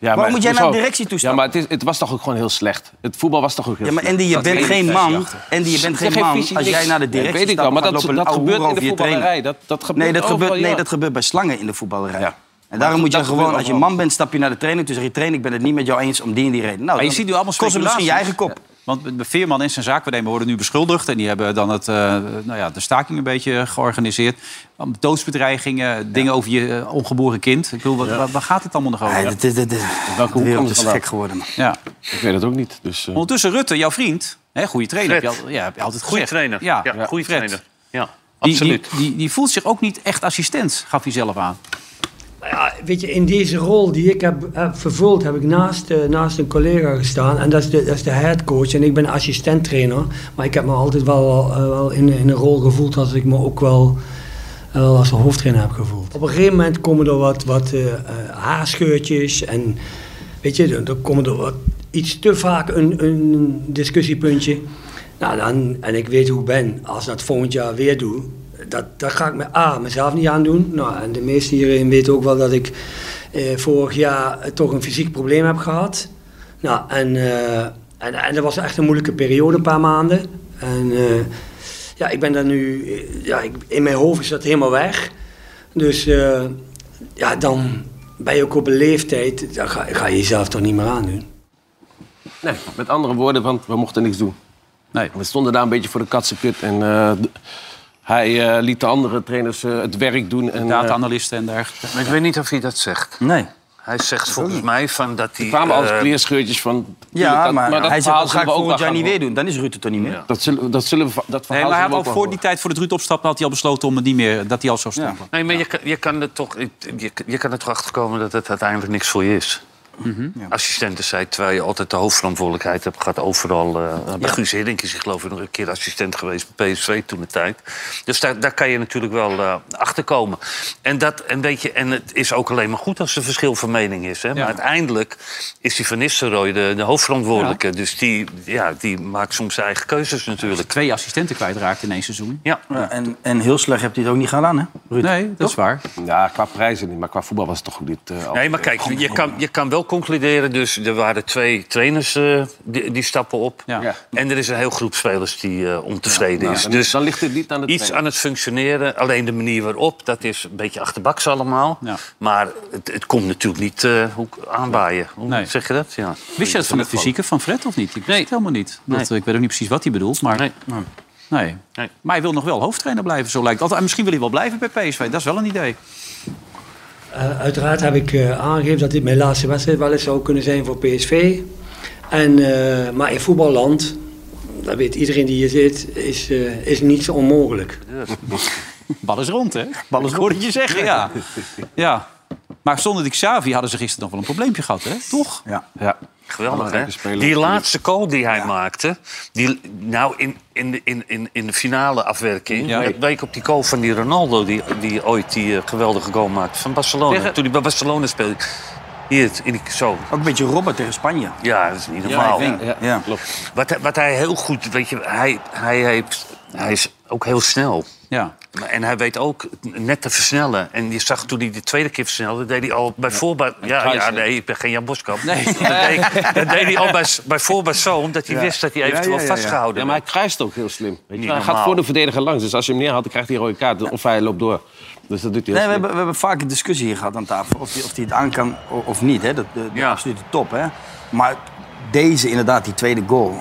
Speaker 3: Waarom moet jij naar de directie toe
Speaker 7: Ja, maar het, is, het was toch ook gewoon heel slecht. Het voetbal was toch ook heel
Speaker 3: Ja, maar
Speaker 7: slecht.
Speaker 3: Andy, je
Speaker 7: Dat
Speaker 3: bent
Speaker 7: weet ik.
Speaker 3: geen
Speaker 7: Dat
Speaker 3: man.
Speaker 7: is achter.
Speaker 3: Andy, je bent
Speaker 7: Zeg,
Speaker 3: geen
Speaker 7: geen
Speaker 3: man
Speaker 7: visie,
Speaker 3: als
Speaker 7: niks.
Speaker 3: jij naar de
Speaker 7: Nee,
Speaker 3: directie
Speaker 7: weet ik
Speaker 3: stapt
Speaker 7: wel, maar
Speaker 3: en
Speaker 7: dat-
Speaker 3: gaat lopen
Speaker 7: dat
Speaker 3: ouwe
Speaker 7: gebeurt
Speaker 3: hoeren
Speaker 7: in de
Speaker 3: over je trainer.
Speaker 7: voetballerij. Dat- dat
Speaker 3: nee,
Speaker 7: gebeurt
Speaker 3: dat
Speaker 7: overal,
Speaker 3: gebeurt, nee,
Speaker 7: ja.
Speaker 3: dat gebeurt bij slangen in de voetballerij. En
Speaker 7: dat-
Speaker 3: daarom moet je
Speaker 7: dat
Speaker 3: gewoon,
Speaker 7: gebeurt
Speaker 3: als je
Speaker 7: overal.
Speaker 3: man bent, stap je naar de trainer toe. Zeg je, trainer, ik ben het niet met jou eens om die en die reden. Nou,
Speaker 2: Maar je
Speaker 3: dan
Speaker 2: ziet nu allemaal
Speaker 3: kost het misschien je eigen
Speaker 2: speculaties.
Speaker 3: kop.
Speaker 2: Ja. Want bij Veerman en zijn zaakwaarnemer worden nu beschuldigd. En die hebben dan het, eh, nou ja, de staking een beetje georganiseerd. Um, Doodsbedreigingen, dingen over je eh, ongeboren kind. Ik bedoel, wat- waar, waar gaat het allemaal nog over?
Speaker 3: Ja, dit- dit- dit-
Speaker 7: Welke
Speaker 3: De
Speaker 7: hoek
Speaker 3: wereld
Speaker 7: komt
Speaker 3: is
Speaker 7: het vandaan?
Speaker 3: gek geworden, man.
Speaker 2: Ja.
Speaker 7: Ik weet het ook niet. Dus, eh,
Speaker 2: Ondertussen Rutte, jouw vriend. Hè, goede trainer. Heb
Speaker 4: Fred.
Speaker 2: je, al- ja, heb je altijd
Speaker 4: Goeie
Speaker 2: gezegd.
Speaker 4: trainer.
Speaker 2: Ja,
Speaker 4: Ja, goeie
Speaker 2: Fred.
Speaker 4: trainer. Ja,
Speaker 2: Die-
Speaker 4: absoluut.
Speaker 2: Die, die, die voelt zich ook niet echt assistent, gaf hij zelf aan.
Speaker 15: Nou Ja, weet je, in deze rol die ik heb, heb vervuld, heb ik naast, eh, naast een collega gestaan. En dat is de, dat is de headcoach. En ik ben assistent trainer. Maar ik heb me altijd wel, eh, wel in, in een rol gevoeld dat ik me ook wel, eh, wel als een hoofdtrainer heb gevoeld. Op een gegeven moment komen er wat, wat eh, eh, haarscheurtjes. En weet je, er, er komen er wat, iets te vaak een, een discussiepuntje. Nou, dan, en ik weet hoe ik ben. Als ik dat volgend jaar weer doe, dat, dat ga ik me, A, mezelf niet aandoen. Nou, en de meesten hierin weten ook wel dat ik eh, vorig jaar eh, toch een fysiek probleem heb gehad. Nou, en, eh, en, en dat was echt een moeilijke periode, een paar maanden. En eh, ja, ik ben daar nu, eh, ja, ik, in mijn hoofd is dat helemaal weg. Dus eh, ja, dan ben je ook op een leeftijd, dan ga, ga je jezelf toch niet meer aandoen.
Speaker 7: Nee, met andere woorden, want we mochten niks doen. Nee. We stonden daar een beetje voor de katsenkut. En eh, d- hij eh, liet de andere trainers eh, het werk doen. En, eh,
Speaker 2: eh, Data-analysten en dergelijke.
Speaker 4: Maar ik weet niet of hij dat zegt.
Speaker 3: Nee.
Speaker 4: Hij zegt volgens mij van dat hij...
Speaker 7: Er kwamen
Speaker 4: eh,
Speaker 7: altijd kleerscheurtjes van...
Speaker 3: Ja,
Speaker 7: dat-
Speaker 3: maar, hij zegt,
Speaker 7: verhaal
Speaker 3: dat ga
Speaker 7: zullen
Speaker 3: ik
Speaker 7: we ook
Speaker 3: volgend
Speaker 7: wel
Speaker 3: jaar
Speaker 7: gaan
Speaker 3: niet
Speaker 7: horen.
Speaker 3: weer doen. Dan is Ruud het toch niet meer.
Speaker 7: Dat, zullen, dat, zullen we, dat
Speaker 2: Nee,
Speaker 7: verhaal
Speaker 2: maar hij
Speaker 7: zullen
Speaker 2: had
Speaker 7: we
Speaker 2: al
Speaker 7: wel
Speaker 2: voor
Speaker 7: horen.
Speaker 2: die tijd, voor het Ruud opstap, had hij al besloten om het niet meer, dat hij al zou stoppen.
Speaker 4: Nee, maar je, kan- je kan er toch je, je kan er toch achter komen dat het uiteindelijk niks voor je is. Assistenten zei, terwijl je altijd de hoofdverantwoordelijkheid hebt gehad overal. eh, bij Guus Hiddink is hij geloof ik nog een keer assistent geweest bij PSV toen de tijd. Dus daar, daar kan je natuurlijk wel eh, achter komen. En, dat, en, weet je, en het is ook alleen maar goed als er verschil van mening is. Hè? Maar uiteindelijk is die Van Nistelrooy de, de hoofdverantwoordelijke. Dus die, ja, die maakt soms zijn eigen keuzes natuurlijk.
Speaker 2: Twee assistenten kwijtraakt in één seizoen.
Speaker 4: Ja.
Speaker 3: Ja, en, en heel slecht hebt hij het ook niet gedaan, hè, Ruud?
Speaker 2: Nee, dat is waar.
Speaker 7: Ja, qua prijzen niet, maar qua voetbal was het toch goed. Dit, eh,
Speaker 4: Nee, maar kijk, je kan, je kan wel concluderen. Dus er waren twee trainers eh, die, die stappen op.
Speaker 7: Ja.
Speaker 4: En er is een heel groep spelers die eh, ontevreden
Speaker 7: nou,
Speaker 4: is.
Speaker 7: dan-
Speaker 4: dus
Speaker 7: dan ligt het niet aan de
Speaker 4: iets
Speaker 7: trainer.
Speaker 4: aan het functioneren, alleen de manier waarop, dat is een beetje achterbaks allemaal. Maar het, het komt natuurlijk niet eh, hoe- aanwaaien. Hoe zeg je dat? Ja.
Speaker 2: Wist je dat van het fysieke van Fred of niet? Ik wist het helemaal niet. Dat, eh, Ik weet ook niet precies wat hij bedoelt, maar... Nee. Maar hij wil nog wel hoofdtrainer blijven, zo lijkt het. En misschien wil hij wel blijven bij PSV, dat is wel een idee.
Speaker 15: Eh, uiteraard heb ik eh, aangegeven dat dit mijn laatste wedstrijd wel eens zou kunnen zijn voor PSV. En, eh, maar in voetballand, dat weet iedereen die hier zit, is, eh, is niets onmogelijk.
Speaker 2: Bal is rond, hè? Bal is rond. je zeggen, ja. ja. Maar zonder die Xavi hadden ze gisteren nog wel een probleempje gehad, hè? Toch?
Speaker 3: Ja.
Speaker 7: ja.
Speaker 4: Geweldig,
Speaker 2: Belangrijke
Speaker 4: hè?
Speaker 2: speler.
Speaker 4: Die laatste goal die hij maakte... Die, nou, in, in, de, in, in, in de finale afwerking...
Speaker 2: Ja.
Speaker 4: Ja. week op die goal van die Ronaldo... die, die ooit die eh, geweldige goal maakte van Barcelona.
Speaker 2: Tegen-
Speaker 4: Toen hij bij Barcelona speelde. Hier, in die, zo.
Speaker 3: Ook een beetje Robert tegen Spanje.
Speaker 4: Ja, dat is niet
Speaker 3: Ja,
Speaker 4: normaal.
Speaker 7: Nou,
Speaker 3: ik denk, ja.
Speaker 4: Klopt. Wat, hij- wat hij heel goed, weet je, hij, hij, heeft, hij is ook heel snel.
Speaker 2: Ja.
Speaker 4: En hij weet ook net te versnellen. En je zag toen hij de tweede keer versnelde, deed hij al bij voorbaat. Ja, ja,
Speaker 2: Kruisen.
Speaker 4: nee, ik ben geen Jan Boskamp.
Speaker 2: Nee.
Speaker 4: Dat, deed, dat deed hij al bij, bij voorbaat zo, omdat hij
Speaker 7: Ja.
Speaker 4: wist dat hij eventueel vastgehouden
Speaker 7: Ja, maar hij krijgt ook heel slim. Weet je?
Speaker 4: Niet
Speaker 7: Hij gaat
Speaker 4: normaal.
Speaker 7: voor de verdediger langs. Dus als je hem neerhaalt, dan krijgt hij een rode kaart. Of hij loopt door. Dus dat doet hij
Speaker 3: Nee, we,
Speaker 7: heel slim.
Speaker 3: hebben, we hebben vaak een discussie hier gehad aan tafel. Of hij of die het aan kan o- of niet. Hè? Dat, de de absolute top. Hè? Maar deze, inderdaad, die tweede goal.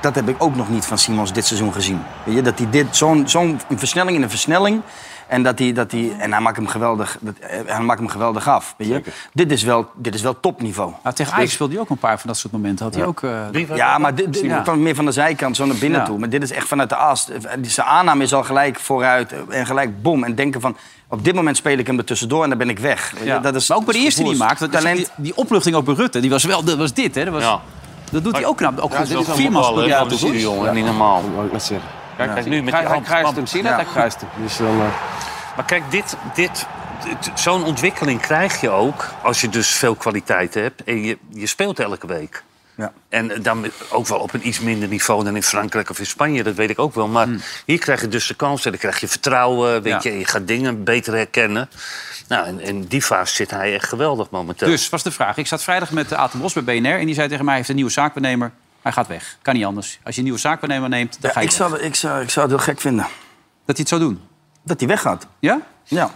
Speaker 3: Dat heb ik ook nog niet van Simons dit seizoen gezien. Weet je, dat hij dit, zo'n, zo'n versnelling in een versnelling. En, dat hij, dat hij, en hij maakt hem geweldig, dat, eh, hij maakt hem geweldig af. Weet je? Dit, is wel, dit is wel topniveau.
Speaker 2: Nou, tegen Ajax speelde hij ook een paar van dat soort momenten. Had hij ook... eh,
Speaker 3: Dus- ja, maar dit, dit
Speaker 2: Ja.
Speaker 3: kwam meer van de zijkant, zo naar binnen
Speaker 2: Ja.
Speaker 3: toe. Maar dit is echt vanuit de as. Die- Zijn aanname is al gelijk vooruit en gelijk bom. En denken van, op dit moment speel ik hem er tussendoor en dan ben ik weg. Weet je,
Speaker 2: Ja.
Speaker 3: Dat is,
Speaker 2: maar ook bij de eerste die hij maakt. want
Speaker 3: Talent.
Speaker 2: Die, die opluchting ook bij Rutte, die was wel dat was dit. Hè? Dat, was, dat doet hij ook knap. Ook
Speaker 4: Ja,
Speaker 2: goed.
Speaker 4: dat is
Speaker 2: dit is
Speaker 4: wel
Speaker 2: viermaal
Speaker 4: voetbal,
Speaker 2: goed.
Speaker 4: hè,
Speaker 2: Ja,
Speaker 4: van de
Speaker 2: toch?
Speaker 4: Siri, jongen.
Speaker 2: Ja.
Speaker 4: Niet normaal.
Speaker 7: Dat wou ik net zeggen. Kijk,
Speaker 4: Ja.
Speaker 7: kijk, nu met
Speaker 4: Hij-
Speaker 7: hij,
Speaker 4: hij kruist
Speaker 7: kruist
Speaker 4: hem.
Speaker 7: hem.
Speaker 4: Zie je
Speaker 7: Zie
Speaker 4: dat? Hij
Speaker 7: Hij
Speaker 4: kruist
Speaker 7: kruist hem. Dus eh,
Speaker 4: Maar kijk, dit, dit, dit- zo'n ontwikkeling krijg je ook als je dus veel kwaliteit hebt en je, je speelt elke week.
Speaker 3: Ja.
Speaker 4: En dan ook wel op een iets minder niveau dan in Frankrijk of in Spanje, dat weet ik ook wel. Maar hier krijg je dus de kans en dan krijg je vertrouwen, weet je,
Speaker 2: Ja.
Speaker 4: en je gaat dingen beter herkennen. Nou, en in die fase zit hij echt geweldig momenteel.
Speaker 2: Dus, was de vraag. Ik zat vrijdag met eh, Aten Bos bij BNR en die zei tegen mij... hij heeft een nieuwe zaakbenemer, hij gaat weg. Kan niet anders. Als je een nieuwe zaakbenemer neemt,
Speaker 3: Ja,
Speaker 2: dan ga je
Speaker 3: ik, zou, ik, zou, ik zou het heel gek vinden.
Speaker 2: Dat hij het zou doen?
Speaker 3: Dat hij weggaat.
Speaker 2: Ja?
Speaker 3: Ja.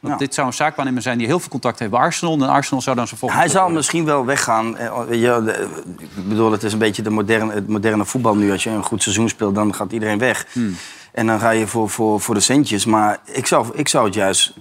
Speaker 2: Want dit zou een zaakwaarnemer zijn die heel veel contact heeft bij Arsenal. En Arsenal zou dan zijn volgende...
Speaker 3: Hij zou misschien wel weggaan. eh, weet je, de- Ik bedoel, het is een beetje de moderne, het moderne voetbal nu. Als je een goed seizoen speelt, dan gaat iedereen weg.
Speaker 7: Hmm.
Speaker 3: En dan ga je voor, voor, voor de centjes. Maar ik zou, ik zou het juist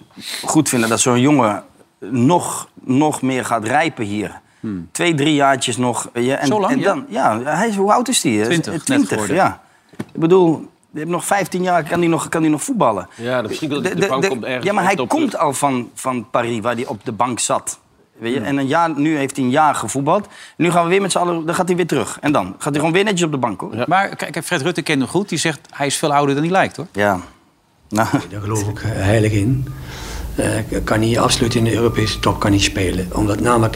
Speaker 3: goed vinden dat zo'n jongen nog, nog meer gaat rijpen hier.
Speaker 7: Hmm.
Speaker 3: Twee, drie jaartjes nog. weet je, en,
Speaker 2: Zo lang,
Speaker 3: en
Speaker 2: ja?
Speaker 3: dan, ja. hij is, hoe oud is hij?
Speaker 2: 20, net geworden.
Speaker 3: ja. Ik bedoel, je hebt nog 15 jaar, kan hij nog, kan hij nog voetballen.
Speaker 7: Ja, dan misschien dat hij
Speaker 3: De-
Speaker 7: op de,
Speaker 3: de-
Speaker 7: bank
Speaker 3: de-
Speaker 7: komt ergens.
Speaker 3: Ja, maar
Speaker 7: op
Speaker 3: hij
Speaker 7: topclub.
Speaker 3: komt al van, van Paris, waar hij op de bank zat. Weet je? En een jaar, nu heeft hij een jaar gevoetbald. Nu gaan we weer met z'n allen, dan gaat hij weer terug. En dan gaat hij gewoon weer netjes op de bank, hoor.
Speaker 2: Maar kijk, Fred Rutte kent hem goed. Die zegt, hij is veel ouder dan hij lijkt, hoor.
Speaker 3: Ja. Nou,
Speaker 15: Daar geloof ik eh, heilig in. Eh, kan hij absoluut in de Europese top kan hij spelen. Omdat namelijk,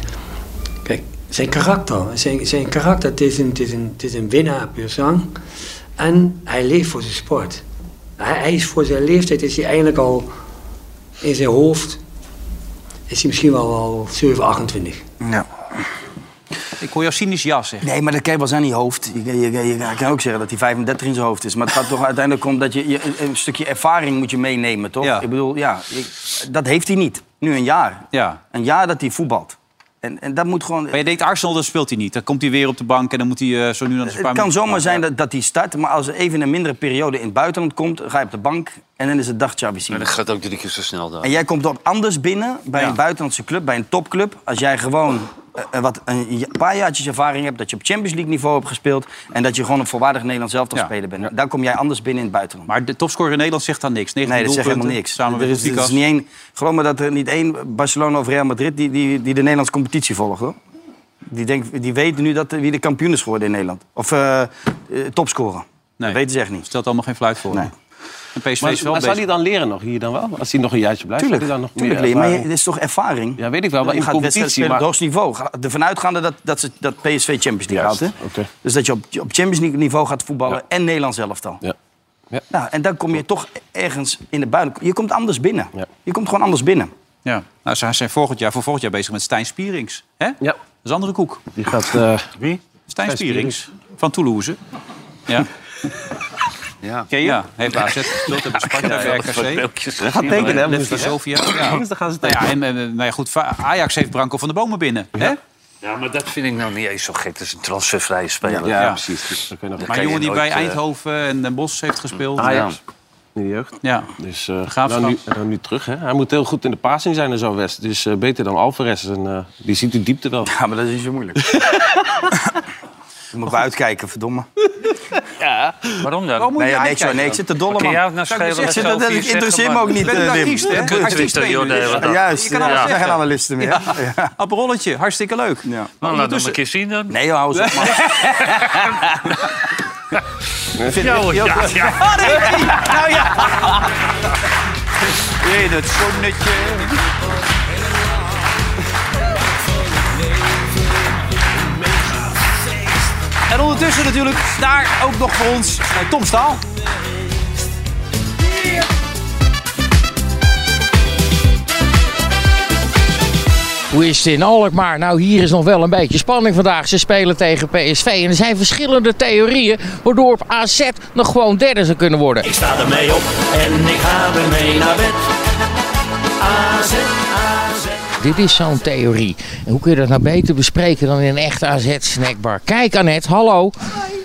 Speaker 15: kijk, zijn karakter. Zijn, zijn karakter, het is, een, het, is een, het is een winnaar puur zang. En hij leeft voor zijn sport. Hij, hij is voor zijn leeftijd is hij eigenlijk al in zijn hoofd. Is hij misschien wel al 7, 28.
Speaker 3: (laughs) Ja.
Speaker 2: Ik hoor jou cynisch ja zeggen.
Speaker 3: Nee, maar dat kan je wel zijn in je hoofd. Je, je, je, je kan ook zeggen dat hij 35 in zijn hoofd is. Maar het gaat toch (laughs) uiteindelijk om dat je, je een- een stukje ervaring moet je meenemen, toch? Ik bedoel, ja, ik- dat heeft hij niet. Nu een jaar.
Speaker 2: Ja.
Speaker 3: Een jaar dat hij voetbalt. En, en dat moet gewoon...
Speaker 2: Maar je denkt, Arsenal, dan speelt hij niet. Dan komt hij weer op de bank en dan moet hij eh, zo nu dan eens een paar
Speaker 3: Dus Het kan
Speaker 2: minuten-
Speaker 3: zomaar zijn dat, dat hij start, maar als er even een mindere periode in het buitenland komt, ga je op de bank en dan is het dag Xabi
Speaker 4: En
Speaker 3: Simons.
Speaker 4: dat gaat ook drie keer zo snel dan.
Speaker 3: En jij komt op anders binnen bij een buitenlandse club, bij een topclub, als jij gewoon eh, eh, wat, een ja- paar jaartjes ervaring hebt, dat je op Champions League niveau hebt gespeeld en dat je gewoon een volwaardig Nederlands elftal
Speaker 2: Ja.
Speaker 3: speler bent. Dan kom jij anders binnen in het buitenland.
Speaker 2: Maar de topscorer in Nederland zegt dan niks. 19
Speaker 3: Nee, dat zegt helemaal
Speaker 2: doelpunten,
Speaker 3: niks.
Speaker 2: Samen
Speaker 3: Er is,
Speaker 2: met
Speaker 3: er is
Speaker 2: Lucas.
Speaker 3: niet één, geloof me dat er niet één Barcelona of Real Madrid die, die, die de Nederlandse competitie volgt hoor. Die, denkt, die weten nu dat, wie de kampioen is geworden in Nederland. Of eh eh, topscorer. Dat weten ze echt niet.
Speaker 2: Stelt allemaal geen fluit voor.
Speaker 3: Nee.
Speaker 2: En PSV
Speaker 7: Maar,
Speaker 2: is wel
Speaker 7: maar
Speaker 2: bezig.
Speaker 7: zal hij dan leren nog hier dan wel? Als hij nog een jaartje blijft?
Speaker 3: Tuurlijk,
Speaker 7: zal hij dan nog
Speaker 3: tuurlijk
Speaker 7: meer
Speaker 3: Lee, maar je-
Speaker 7: ervaring-
Speaker 3: dit is toch ervaring?
Speaker 7: Ja, weet ik wel, maar
Speaker 3: Je
Speaker 7: in
Speaker 3: gaat wedstrijden
Speaker 7: competitie.
Speaker 3: spelen op
Speaker 7: Maar...
Speaker 3: het hoogste niveau. Ga- Ervan uitgaande dat, dat, ze, dat PSV Champions League haalt. Hè?
Speaker 7: oké.
Speaker 3: Dus dat je op, op Champions League niveau gaat voetballen en Nederlands elftal.
Speaker 7: Ja.
Speaker 3: Nou, en dan kom je toch e-, ergens in de buiten. Je komt anders binnen. Je komt gewoon anders binnen.
Speaker 2: Ja. Nou, ze zijn volgend jaar, voor volgend jaar bezig met Stijn Spierings. Hè? Ja. Dat is een andere koek.
Speaker 7: Die gaat... eh,
Speaker 2: Wie? Stijn Spierings. Van Toulouse.
Speaker 3: (laughs)
Speaker 2: Ja.
Speaker 4: Ja.
Speaker 2: Ken je? Ja, heeft AZ gespeeld, hebben Sparta,
Speaker 4: Ja, ja,
Speaker 2: bij
Speaker 4: dat soort
Speaker 2: RKC.
Speaker 4: beeldjes. Dat gaat tekenen, hè,
Speaker 2: Lefty
Speaker 4: woensdag, hè?
Speaker 2: Sofia.
Speaker 3: (clears throat)
Speaker 2: Ja.
Speaker 4: Woensdag gaan ze
Speaker 2: Nou ja, en,
Speaker 4: tekenen.
Speaker 2: eh, nou ja, goed, Ajax heeft Branko van de Bomen binnen. Hè?
Speaker 4: Ja, maar dat vind ik nou niet eens zo gek. Dat is een transfervrije speler.
Speaker 2: Ja, ja,
Speaker 4: precies.
Speaker 7: Dus
Speaker 2: Maar een jongen die
Speaker 3: eh,
Speaker 2: bij Eindhoven en Den Bosch heeft gespeeld.
Speaker 7: Ajax. In de jeugd.
Speaker 2: Ja.
Speaker 7: Dus eh,
Speaker 2: Graafschap.
Speaker 7: nou nu, nou nu terug, hè. Hij moet heel goed in de passing zijn en zo, West. Dus eh, beter dan Alvarez. En, eh, die ziet de diepte wel.
Speaker 3: Ja, Ah, maar dat is niet zo moeilijk. Dan moet ik wel uitkijken, verdomme.
Speaker 4: Ja. Waarom dan?
Speaker 3: Nee, ja, nee, sorry, nee, ik zit te dolle,
Speaker 4: Kan
Speaker 3: man.
Speaker 4: jou het nou
Speaker 3: Zou ik
Speaker 4: schelen
Speaker 3: zeggen,
Speaker 4: wat
Speaker 3: dat
Speaker 4: Sophie
Speaker 3: interesseert
Speaker 4: zegt,
Speaker 3: me
Speaker 4: man?
Speaker 3: ook niet,
Speaker 4: Je bent
Speaker 3: eh,
Speaker 4: een
Speaker 3: Wim.
Speaker 4: artiest, hè?
Speaker 3: Je kunt
Speaker 4: Artiest
Speaker 3: Twitter,
Speaker 4: ben je
Speaker 3: joh, de
Speaker 4: nu.
Speaker 3: hele dag.
Speaker 4: Ja.
Speaker 3: Juist,
Speaker 4: Je kan alles
Speaker 3: ja.
Speaker 4: zeggen.
Speaker 3: Geen analisten meer, hè? Ja.
Speaker 2: Aperolletje, hartstikke leuk. Ja.
Speaker 4: Nou, laat hem een keer zien dan.
Speaker 3: Nee, joh, hou eens op, man.
Speaker 4: Vind je ook- ja, ja.
Speaker 2: Ah, daar heeft hij. Nou
Speaker 4: (laughs)
Speaker 2: ja. In het zonnetje.
Speaker 3: En ondertussen natuurlijk daar ook nog voor ons eh, Tom Staal.
Speaker 16: Hoe is het in Alkmaar? Nou, hier is nog wel een beetje spanning vandaag. Ze spelen tegen PSV en er zijn verschillende theorieën waardoor op AZ nog gewoon derde zou kunnen worden.
Speaker 5: Ik sta ermee op en ik ga ermee naar bed. AZ, AZ.
Speaker 16: Dit is zo'n theorie. En hoe kun je dat nou beter bespreken dan in een echte AZ-snackbar? Kijk Annette, hallo.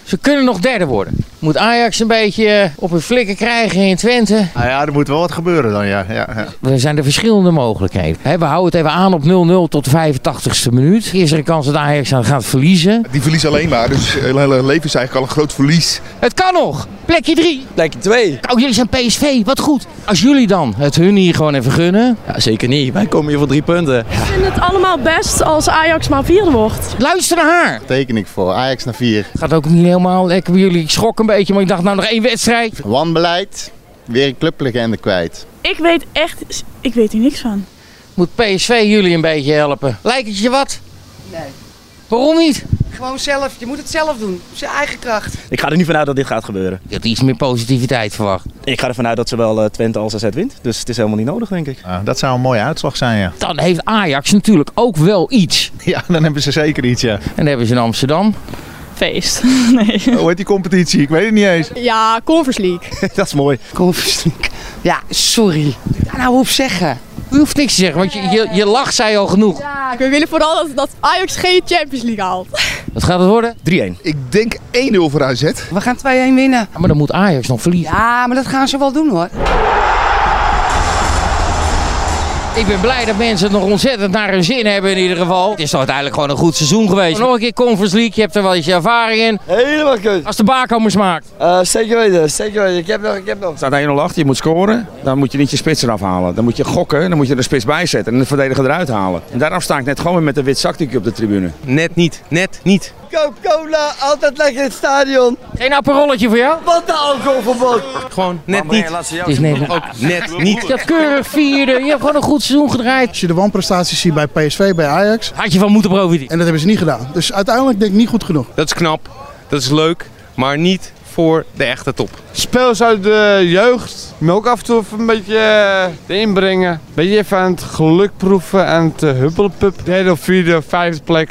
Speaker 16: Ze kunnen nog derde worden. Moet Ajax een beetje eh, op hun flikken krijgen in Twente.
Speaker 17: Nou ja, er moet wel wat gebeuren dan, ja. ja, ja.
Speaker 16: Er zijn er verschillende mogelijkheden. Hè, we houden het even aan op 0-0 tot de 85ste minuut. Is er een kans dat Ajax aan gaat verliezen?
Speaker 18: Die verliezen alleen maar, dus het hele leven is eigenlijk al een groot verlies.
Speaker 16: Het kan nog! Plekje 3. Plekje 2. Oh, jullie zijn PSV, wat goed. Als jullie dan het hun hier gewoon even gunnen. Ja, zeker niet. Wij komen hier voor drie punten.
Speaker 19: Ik vind het allemaal best als Ajax maar vierde wordt.
Speaker 16: Luister naar haar.
Speaker 17: Teken ik voor. Ajax naar 4.
Speaker 16: Gaat ook niet helemaal lekker bij jullie. Ik schrok een beetje, maar ik dacht nou nog één wedstrijd.
Speaker 17: Wanbeleid. Weer een clublegende kwijt.
Speaker 19: Ik weet echt, ik weet hier niks van.
Speaker 16: Moet PSV jullie een beetje helpen. Lijkt het je wat?
Speaker 20: Nee.
Speaker 16: Waarom niet?
Speaker 20: Gewoon zelf. Je moet het zelf doen. Op zijn eigen kracht.
Speaker 21: Ik ga er niet vanuit dat dit gaat gebeuren.
Speaker 16: Je had iets meer positiviteit verwacht.
Speaker 21: Ik ga ervan uit dat zowel eh, Twente als AZ wint. Dus het is helemaal niet nodig, denk ik.
Speaker 17: Ah,
Speaker 21: dat zou een mooie uitslag zijn, ja.
Speaker 16: Dan heeft Ajax natuurlijk ook wel iets.
Speaker 17: (laughs) Ja, dan hebben ze zeker iets, ja. Oh,
Speaker 16: En hebben ze in Amsterdam.
Speaker 19: Feest. Nee.
Speaker 17: Hoe heet die competitie? Ik weet het niet eens.
Speaker 19: Ja, Conference League.
Speaker 17: dat is mooi.
Speaker 20: Conference League. Ja, sorry. Daar nou op zeggen.
Speaker 16: U hoeft niks te zeggen, want je, je, je lacht zei al genoeg.
Speaker 19: Ja, we willen vooral dat, dat Ajax geen Champions League haalt.
Speaker 16: Wat gaat het worden?
Speaker 18: 3-1. Ik denk 1-0 voor AZ.
Speaker 20: We gaan 2-1 winnen.
Speaker 16: maar dan moet Ajax nog verliezen.
Speaker 20: Ja, maar dat gaan ze wel doen hoor.
Speaker 16: Ik ben blij dat mensen het nog ontzettend naar hun zin hebben in ieder geval. Het is toch uiteindelijk gewoon een goed seizoen geweest. Nog een keer Conference League, je hebt er wel eens ervaring in. Helemaal goed. Als de bakomers maakt.
Speaker 22: zeker weten, zeker weten. Ik heb nog, ik heb nog. staat 1-0 achter, je moet scoren. Dan moet je niet je spits eraf halen. Dan moet je gokken, dan moet je er een spits bij zetten en de verdediger eruit halen. En daarom sta ik net gewoon weer met een wit zakdoekje op de tribune. Net niet, net niet.
Speaker 23: Coca-Cola, altijd lekker in het stadion.
Speaker 16: Geen apparolletje voor jou?
Speaker 23: Wat een alcoholverbod. Gewoon
Speaker 21: net niet.
Speaker 16: Het is net-
Speaker 21: Ook net niet.
Speaker 16: Dat keurig vierde, je hebt gewoon een goed seizoen gedraaid.
Speaker 24: Als je de wanprestaties ziet bij PSV, bij Ajax.
Speaker 16: Had je van moeten profiteren.
Speaker 24: En dat hebben ze niet gedaan. Dus uiteindelijk denk ik niet goed genoeg.
Speaker 25: Dat is knap, dat is leuk, maar niet voor de echte top.
Speaker 26: Speels uit de jeugd. Maar ook af en toe even een beetje eh, te inbrengen. Een beetje even aan het geluk proeven en het eh, huppelpup. Derde of vierde of vijfde plek.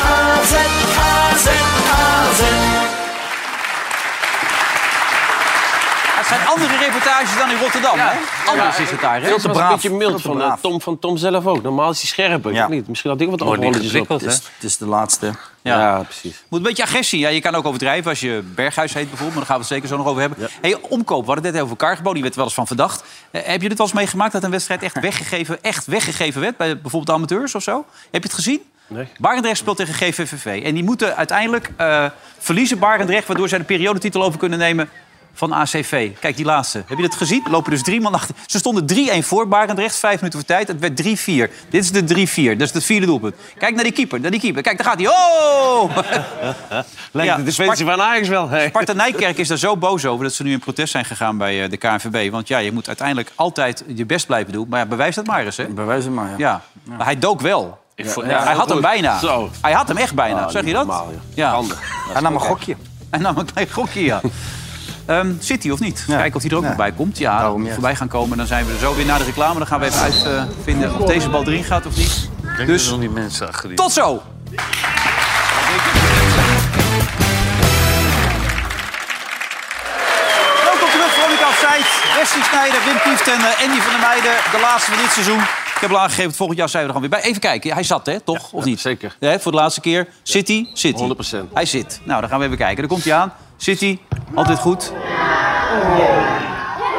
Speaker 5: AZ, AZ, AZ.
Speaker 3: Het zijn andere reportages dan in Rotterdam, hè? Anders is het daar, hè?
Speaker 7: Veel te braaf. een beetje
Speaker 3: Veel
Speaker 7: mild
Speaker 3: te
Speaker 7: van eh,
Speaker 3: braaf.
Speaker 7: Tom, van Tom zelf ook. Normaal is hij scherper. Ik weet niet. Misschien had ik wat
Speaker 3: Wordt niet
Speaker 7: rolletjes op. Dus-
Speaker 3: gewikkeld, hè? Het is de laatste.
Speaker 2: Ja.
Speaker 3: precies.
Speaker 2: Moet een beetje agressie. Ja, je kan ook overdrijven als je Berghuis heet bijvoorbeeld. Maar daar gaan we het zeker zo nog over hebben. Hey, omkoop. We hadden het net over Cargo. Die werd wel eens van verdacht. Eh, heb je dit wel eens meegemaakt dat een wedstrijd echt weggegeven, echt weggegeven werd? Bij bijvoorbeeld de amateurs of zo? Heb je het gezien?
Speaker 7: Nee.
Speaker 2: Barendrecht speelt tegen GVVV. En die moeten uiteindelijk eh, verliezen Barendrecht... waardoor zij de periodetitel over kunnen nemen van ACV. Kijk, die laatste. Heb je dat gezien? Er Lopen dus drie man achter. Ze stonden 3-1 voor Barendrecht, vijf minuten voor tijd. Het werd 3-4. Dit is de 3-4. Dat is het vierde doelpunt. Kijk naar die keeper, naar die keeper. Kijk, daar gaat hij. Oh!
Speaker 4: Lijkt
Speaker 2: dus
Speaker 7: dus
Speaker 4: de Zweedse van Ajax wel. hè?
Speaker 2: Sparta Nijkerk is daar zo boos over dat ze nu in protest zijn gegaan bij eh, de KNVB. Want ja, je moet uiteindelijk altijd je best blijven doen. Maar ja, bewijs dat maar eens, hè? Bewijs het maar, ja. Maar hij dook wel.
Speaker 3: Ik vond-
Speaker 2: Ja,
Speaker 3: ja,
Speaker 2: hij had
Speaker 3: goed.
Speaker 2: hem bijna.
Speaker 3: Zo.
Speaker 2: Hij had hem echt bijna.
Speaker 3: Ah,
Speaker 2: zeg je
Speaker 3: niet
Speaker 2: dat?
Speaker 3: normaal, joh.
Speaker 2: ja. Hij nam een
Speaker 3: goed, hè?
Speaker 2: gokje. (laughs) Hij nam een klein gokje,
Speaker 3: (laughs)
Speaker 2: ja. Ehm, zit hij of niet? Kijken of hij er ook nog bij komt. Ja, voorbij gaan komen. Dan zijn we er zo weer na de reclame. Dan gaan we even uitvinden of deze bal erin gaat of niet.
Speaker 4: Ik denk
Speaker 2: Dus-
Speaker 4: dat er nog die mensen achter die-
Speaker 2: Tot zo!
Speaker 11: Welkom terug, Veronica Offside.
Speaker 3: Wesley Snijder, Wim Kieft en eh, Andy van der Meijden. De laatste van dit seizoen. Ik heb al aangegeven, het volgend jaar zijn we er gewoon weer bij. Even kijken, hij zat hè, toch? of niet? Zeker. voor de laatste keer. Zit hij? Zit hij. 100%. Hij zit. Nou, dan gaan we even kijken. Daar komt hij aan. Zit hij? Altijd goed.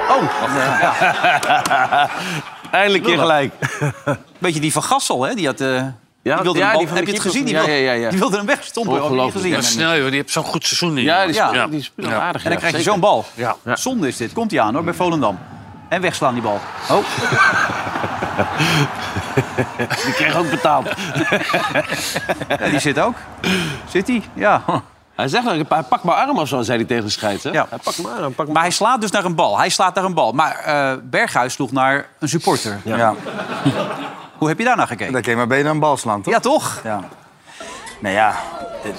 Speaker 3: Oh, ja.
Speaker 4: Eindelijk keer
Speaker 3: gelijk. (laughs) Beetje die van Gassel, hè? Die had... eh, die wilde
Speaker 4: ja,
Speaker 3: hem
Speaker 4: die van
Speaker 3: Heb
Speaker 4: de
Speaker 3: je
Speaker 4: keeper.
Speaker 3: het gezien? Die,
Speaker 4: Ja,
Speaker 3: wil-
Speaker 4: ja, ja, ja.
Speaker 3: die wilde hem wegstompen. Heb je het
Speaker 4: Ongelooflijk.
Speaker 3: gezien?
Speaker 4: Ja, snel, joh. Die heeft zo'n goed seizoen nu.
Speaker 3: En dan krijg je zo'n bal. Zonde is dit. Komt hij aan hoor, bij Volendam. En wegslaan die bal.
Speaker 2: (laughs)
Speaker 3: Oh. die kreeg ook betaald. ja, die zit ook. Zit hij? Ja.
Speaker 7: Hij zegt eigenlijk, hij pakt mijn arm of zo, zei hij tegen de scheidsrechter.
Speaker 2: Ja. Maar hij slaat dus naar een bal. Hij slaat naar een bal. Maar eh, Berghuis sloeg naar een supporter. Ja. Hoe heb je daar naar gekeken?
Speaker 3: Dan kun je maar beter een bal slaan, toch? Ja, toch? Ja. Nou ja,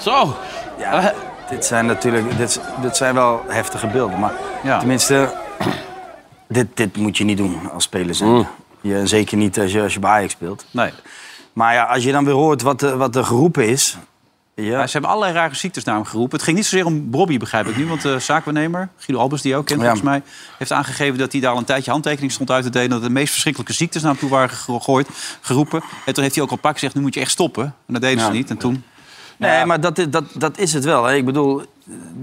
Speaker 7: Zo!
Speaker 3: Ja, dit zijn natuurlijk dit, is- dit zijn wel heftige beelden. Maar tenminste, (clears throat) dit, dit moet je niet doen als speler. zijn. Je, zeker niet als je, als je bij Ajax speelt.
Speaker 2: Nee.
Speaker 3: Maar ja, als je dan weer hoort wat, de- wat er geroepen is... Ja.
Speaker 2: Nou, Ze hebben allerlei rare ziektes naar hem geroepen. Het ging niet zozeer om Bobby, begrijp ik nu. Want de zaakwaarnemer, Guido Albers, die je ook kent
Speaker 3: Ja.
Speaker 2: volgens mij... heeft aangegeven dat hij daar al een tijdje handtekening stond uit te delen... dat de meest verschrikkelijke ziektes naar hem toe waren gegooid, geroepen. En toen heeft hij ook al pak gezegd, nu moet je echt stoppen. En dat deden
Speaker 3: Ja.
Speaker 2: ze niet. En toen...
Speaker 3: Nee, maar dat, is- dat, dat is het wel. Hè. Ik bedoel,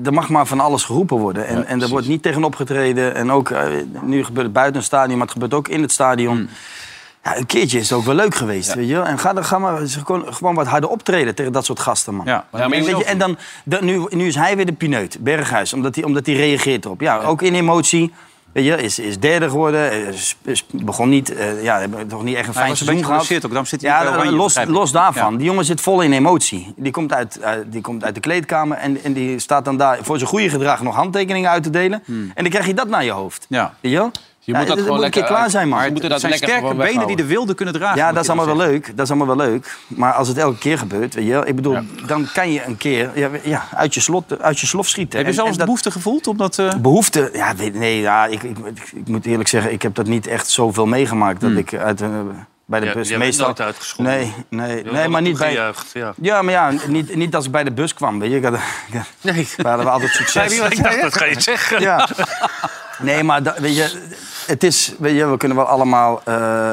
Speaker 3: er mag maar van alles geroepen worden. En, en er wordt niet tegen opgetreden. En ook, eh, nu gebeurt het buiten het stadion, maar het gebeurt ook in het stadion.
Speaker 2: Mm.
Speaker 3: Ja, een keertje is het ook wel leuk geweest, weet je wel. En ga, dan- ga maar eens gewoon, gewoon wat harder optreden tegen dat soort gasten, man.
Speaker 2: maar je
Speaker 3: Weet
Speaker 2: moet
Speaker 3: je,
Speaker 2: ook-
Speaker 3: en dan, dan- nu, nu is hij weer de pineut, Berghuis, omdat hij, omdat hij reageert erop. Ja, ook in emotie. Weet je, is, is derde geworden, eh, is, is- begon niet, eh, ja, hebben toch niet echt een
Speaker 2: Hij
Speaker 3: fijn
Speaker 2: was
Speaker 3: seizoen
Speaker 2: een beetje
Speaker 3: gehad.
Speaker 2: geblesseerd ook, daarom zit hij niet bij
Speaker 3: Ja,
Speaker 2: Oranje,
Speaker 3: los,
Speaker 2: begrijp ik.
Speaker 3: los daarvan. Die jongen zit vol in emotie. Die komt uit, eh, die komt uit de kleedkamer en, en die staat dan daar voor zijn goede gedrag nog handtekeningen uit te delen. En dan krijg je dat naar je hoofd.
Speaker 2: Hmm. Ja.
Speaker 3: Weet je wel?
Speaker 2: Je
Speaker 3: Ja,
Speaker 2: moet dat
Speaker 3: dus het
Speaker 2: gewoon
Speaker 3: een keer
Speaker 2: lekker
Speaker 3: klaar
Speaker 2: uit-
Speaker 3: zijn, man.
Speaker 2: maar ze moeten dat Het zijn lekker sterke gewoon benen die de weghouden. wilde kunnen dragen,
Speaker 3: Ja,
Speaker 2: moet
Speaker 3: dat is
Speaker 2: je wel
Speaker 3: allemaal wel leuk. Dat is allemaal wel leuk. Maar als het elke keer gebeurt, weet je wel, ik bedoel, dan kan je een keer ja, ja, uit, je slot, uit je slof schieten.
Speaker 2: Heb je
Speaker 3: En- en
Speaker 2: zelfs
Speaker 3: dat-
Speaker 2: behoefte gevoeld om dat... eh,
Speaker 3: Behoefte? Ja, weet- nee, ja, ik, ik, ik, ik moet eerlijk zeggen, ik heb dat niet echt zoveel meegemaakt
Speaker 2: Hmm.
Speaker 3: dat ik uit, eh, bij de
Speaker 4: Ja, je
Speaker 3: bus
Speaker 4: bent
Speaker 3: meestal.
Speaker 4: nooit uitgescholden.
Speaker 3: Nee, nee,
Speaker 4: Je
Speaker 3: nee,
Speaker 4: wordt
Speaker 3: maar niet bij.
Speaker 4: toegejuicht, ja.
Speaker 3: Ja, maar ja, niet, niet als ik bij de bus kwam, weet je. Ik had, (laughs) nee. We hadden we altijd
Speaker 2: (laughs)
Speaker 4: Nee,
Speaker 3: succes.
Speaker 4: wie was- ik dacht, dat ga je zeggen.
Speaker 3: Ja. Nee, maar dat, weet je, het is, weet je, we kunnen wel allemaal eh,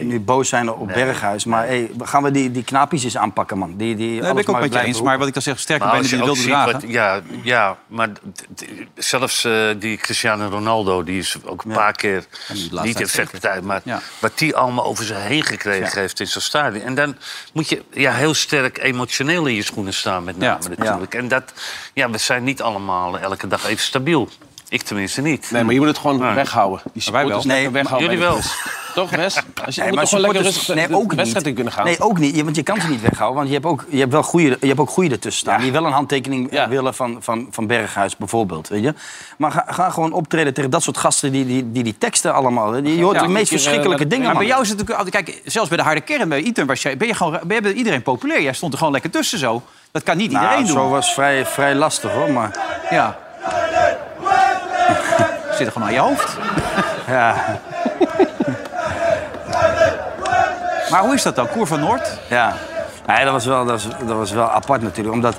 Speaker 3: nu boos zijn op Berghuis. Maar hey, gaan we die, die knaapjes eens aanpakken, man. Die, die
Speaker 2: Daar ben ik ook met je eens. Maar Nou, wat ik dan zeg, sterke benen die de wilde dragen.
Speaker 4: ja, ja, maar d- d- zelfs eh, die Cristiano Ronaldo, die is ook een paar keer niet in
Speaker 2: tijd
Speaker 4: vetpartij, maar wat die allemaal over zich heen gekregen heeft in zo'n stadion. En dan moet je ja, heel sterk emotioneel in je schoenen staan, met name
Speaker 7: Ja.
Speaker 4: natuurlijk. En dat, ja, we zijn niet allemaal elke dag even stabiel. Ik tenminste niet.
Speaker 7: Nee, maar je moet het gewoon weghouden. Die
Speaker 4: Wij wel.
Speaker 7: supporters lekker
Speaker 4: Nee,
Speaker 7: weghouden.
Speaker 4: jullie
Speaker 7: bij de
Speaker 4: wel.
Speaker 7: bus. Toch, Wes? Als je
Speaker 3: Nee,
Speaker 7: moet
Speaker 3: maar
Speaker 7: toch gewoon lekker
Speaker 3: supporters-
Speaker 7: rustig
Speaker 3: nee, ook
Speaker 7: de wedstrijd
Speaker 3: niet.
Speaker 7: in kunnen gaan.
Speaker 3: Nee, ook niet. Je- Want je kan ze niet weghouden. Want je hebt ook, je hebt wel goede, je hebt ook goede ertussen staan. Die wel een handtekening eh, willen van, van, van Berghuis bijvoorbeeld. Weet je? Maar ga, ga gewoon optreden tegen dat soort gasten die die, die, die teksten allemaal. hè. Je hoort
Speaker 2: Ja,
Speaker 3: de meest
Speaker 2: moet je, eh,
Speaker 3: verschrikkelijke
Speaker 2: maar-
Speaker 3: dingen,
Speaker 2: Maar bij
Speaker 3: man.
Speaker 2: jou is het natuurlijk altijd... Kijk, zelfs bij de harde kern, bij Iten, was jij, ben je gewoon, ben je bij iedereen populair. Jij stond er gewoon lekker tussen zo. Dat kan niet iedereen
Speaker 3: Nou,
Speaker 2: doen.
Speaker 3: zo was vrij, vrij lastig hoor, maar...
Speaker 2: Ja. (laughs) Zit er gewoon aan je hoofd.
Speaker 3: Ja.
Speaker 2: Maar hoe is dat dan? Koer van Noord?
Speaker 3: Ja, nee, dat, was wel, dat, was, dat was wel apart natuurlijk. Omdat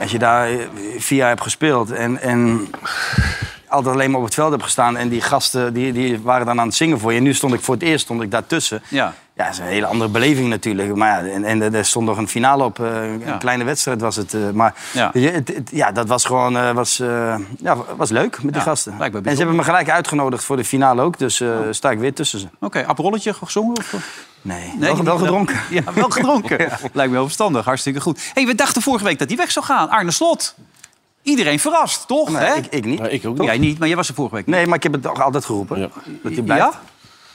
Speaker 3: als je daar eh, vier jaar hebt gespeeld en, en altijd alleen maar op het veld hebt gestaan... en die gasten die, die waren dan aan het zingen voor je. En nu stond ik voor het eerst stond ik daartussen.
Speaker 2: Ja.
Speaker 3: Ja, dat is een hele andere beleving natuurlijk. Maar ja, en, en er stond nog een finale op. eh, Een
Speaker 2: Ja.
Speaker 3: kleine wedstrijd was het. eh, Maar
Speaker 2: Ja.
Speaker 3: weet je, het, het- ja, dat was gewoon eh, was, eh, ja, was leuk met die
Speaker 2: Ja,
Speaker 3: gasten.
Speaker 2: lijkt me Oh.
Speaker 3: en ze hebben me gelijk uitgenodigd voor de finale ook. Dus eh, sta ik weer tussen ze.
Speaker 2: Oké, aperolletje gezongen? Of?
Speaker 3: Nee,
Speaker 2: je
Speaker 3: wel, wel
Speaker 2: bent
Speaker 3: gedronken.
Speaker 2: (laughs) Ja, wel
Speaker 3: (laughs)
Speaker 2: gedronken. Lijkt me heel verstandig. Hartstikke goed. Hé, hey, we dachten vorige week dat hij weg zou gaan. Arne Slot. Iedereen verrast, toch?
Speaker 3: Nee,
Speaker 2: Hè?
Speaker 3: ik, ik niet.
Speaker 2: ik ook niet. Jij niet, maar jij was er vorige week.
Speaker 3: Nee, maar ik heb het toch altijd geroepen. Dat hij blijft.
Speaker 2: Ja?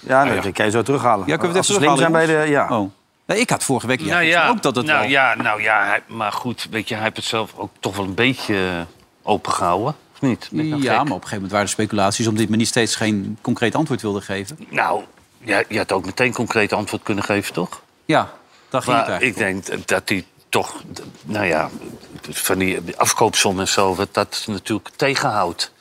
Speaker 3: Ja, nee,
Speaker 2: Ah, ja.
Speaker 3: dat kan je zo terughalen.
Speaker 2: Ja, kunnen we
Speaker 3: Als
Speaker 2: het
Speaker 3: ze
Speaker 2: even
Speaker 3: slim zijn bij
Speaker 2: terughalen,
Speaker 3: de... Ja.
Speaker 2: Oh. Nee, ik had vorige week ja,
Speaker 4: nou ja,
Speaker 2: ook dat het
Speaker 4: nou
Speaker 2: wel...
Speaker 4: ja, nou ja, hij- maar goed, weet je, hij heeft het zelf ook toch wel een beetje opengehouden, of niet? Ben ik
Speaker 2: Ja,
Speaker 4: nou
Speaker 2: maar op
Speaker 4: gek?
Speaker 2: een gegeven moment waren er speculaties... omdat hij me niet steeds geen concreet antwoord wilde geven.
Speaker 4: Nou, ja, je had ook meteen concreet antwoord kunnen geven, toch?
Speaker 2: Ja, dat ging het
Speaker 4: Maar
Speaker 2: eigenlijk.
Speaker 4: ik denk dat hij toch, d- nou ja, van die afkoopsom en zo, dat dat natuurlijk tegenhoudt.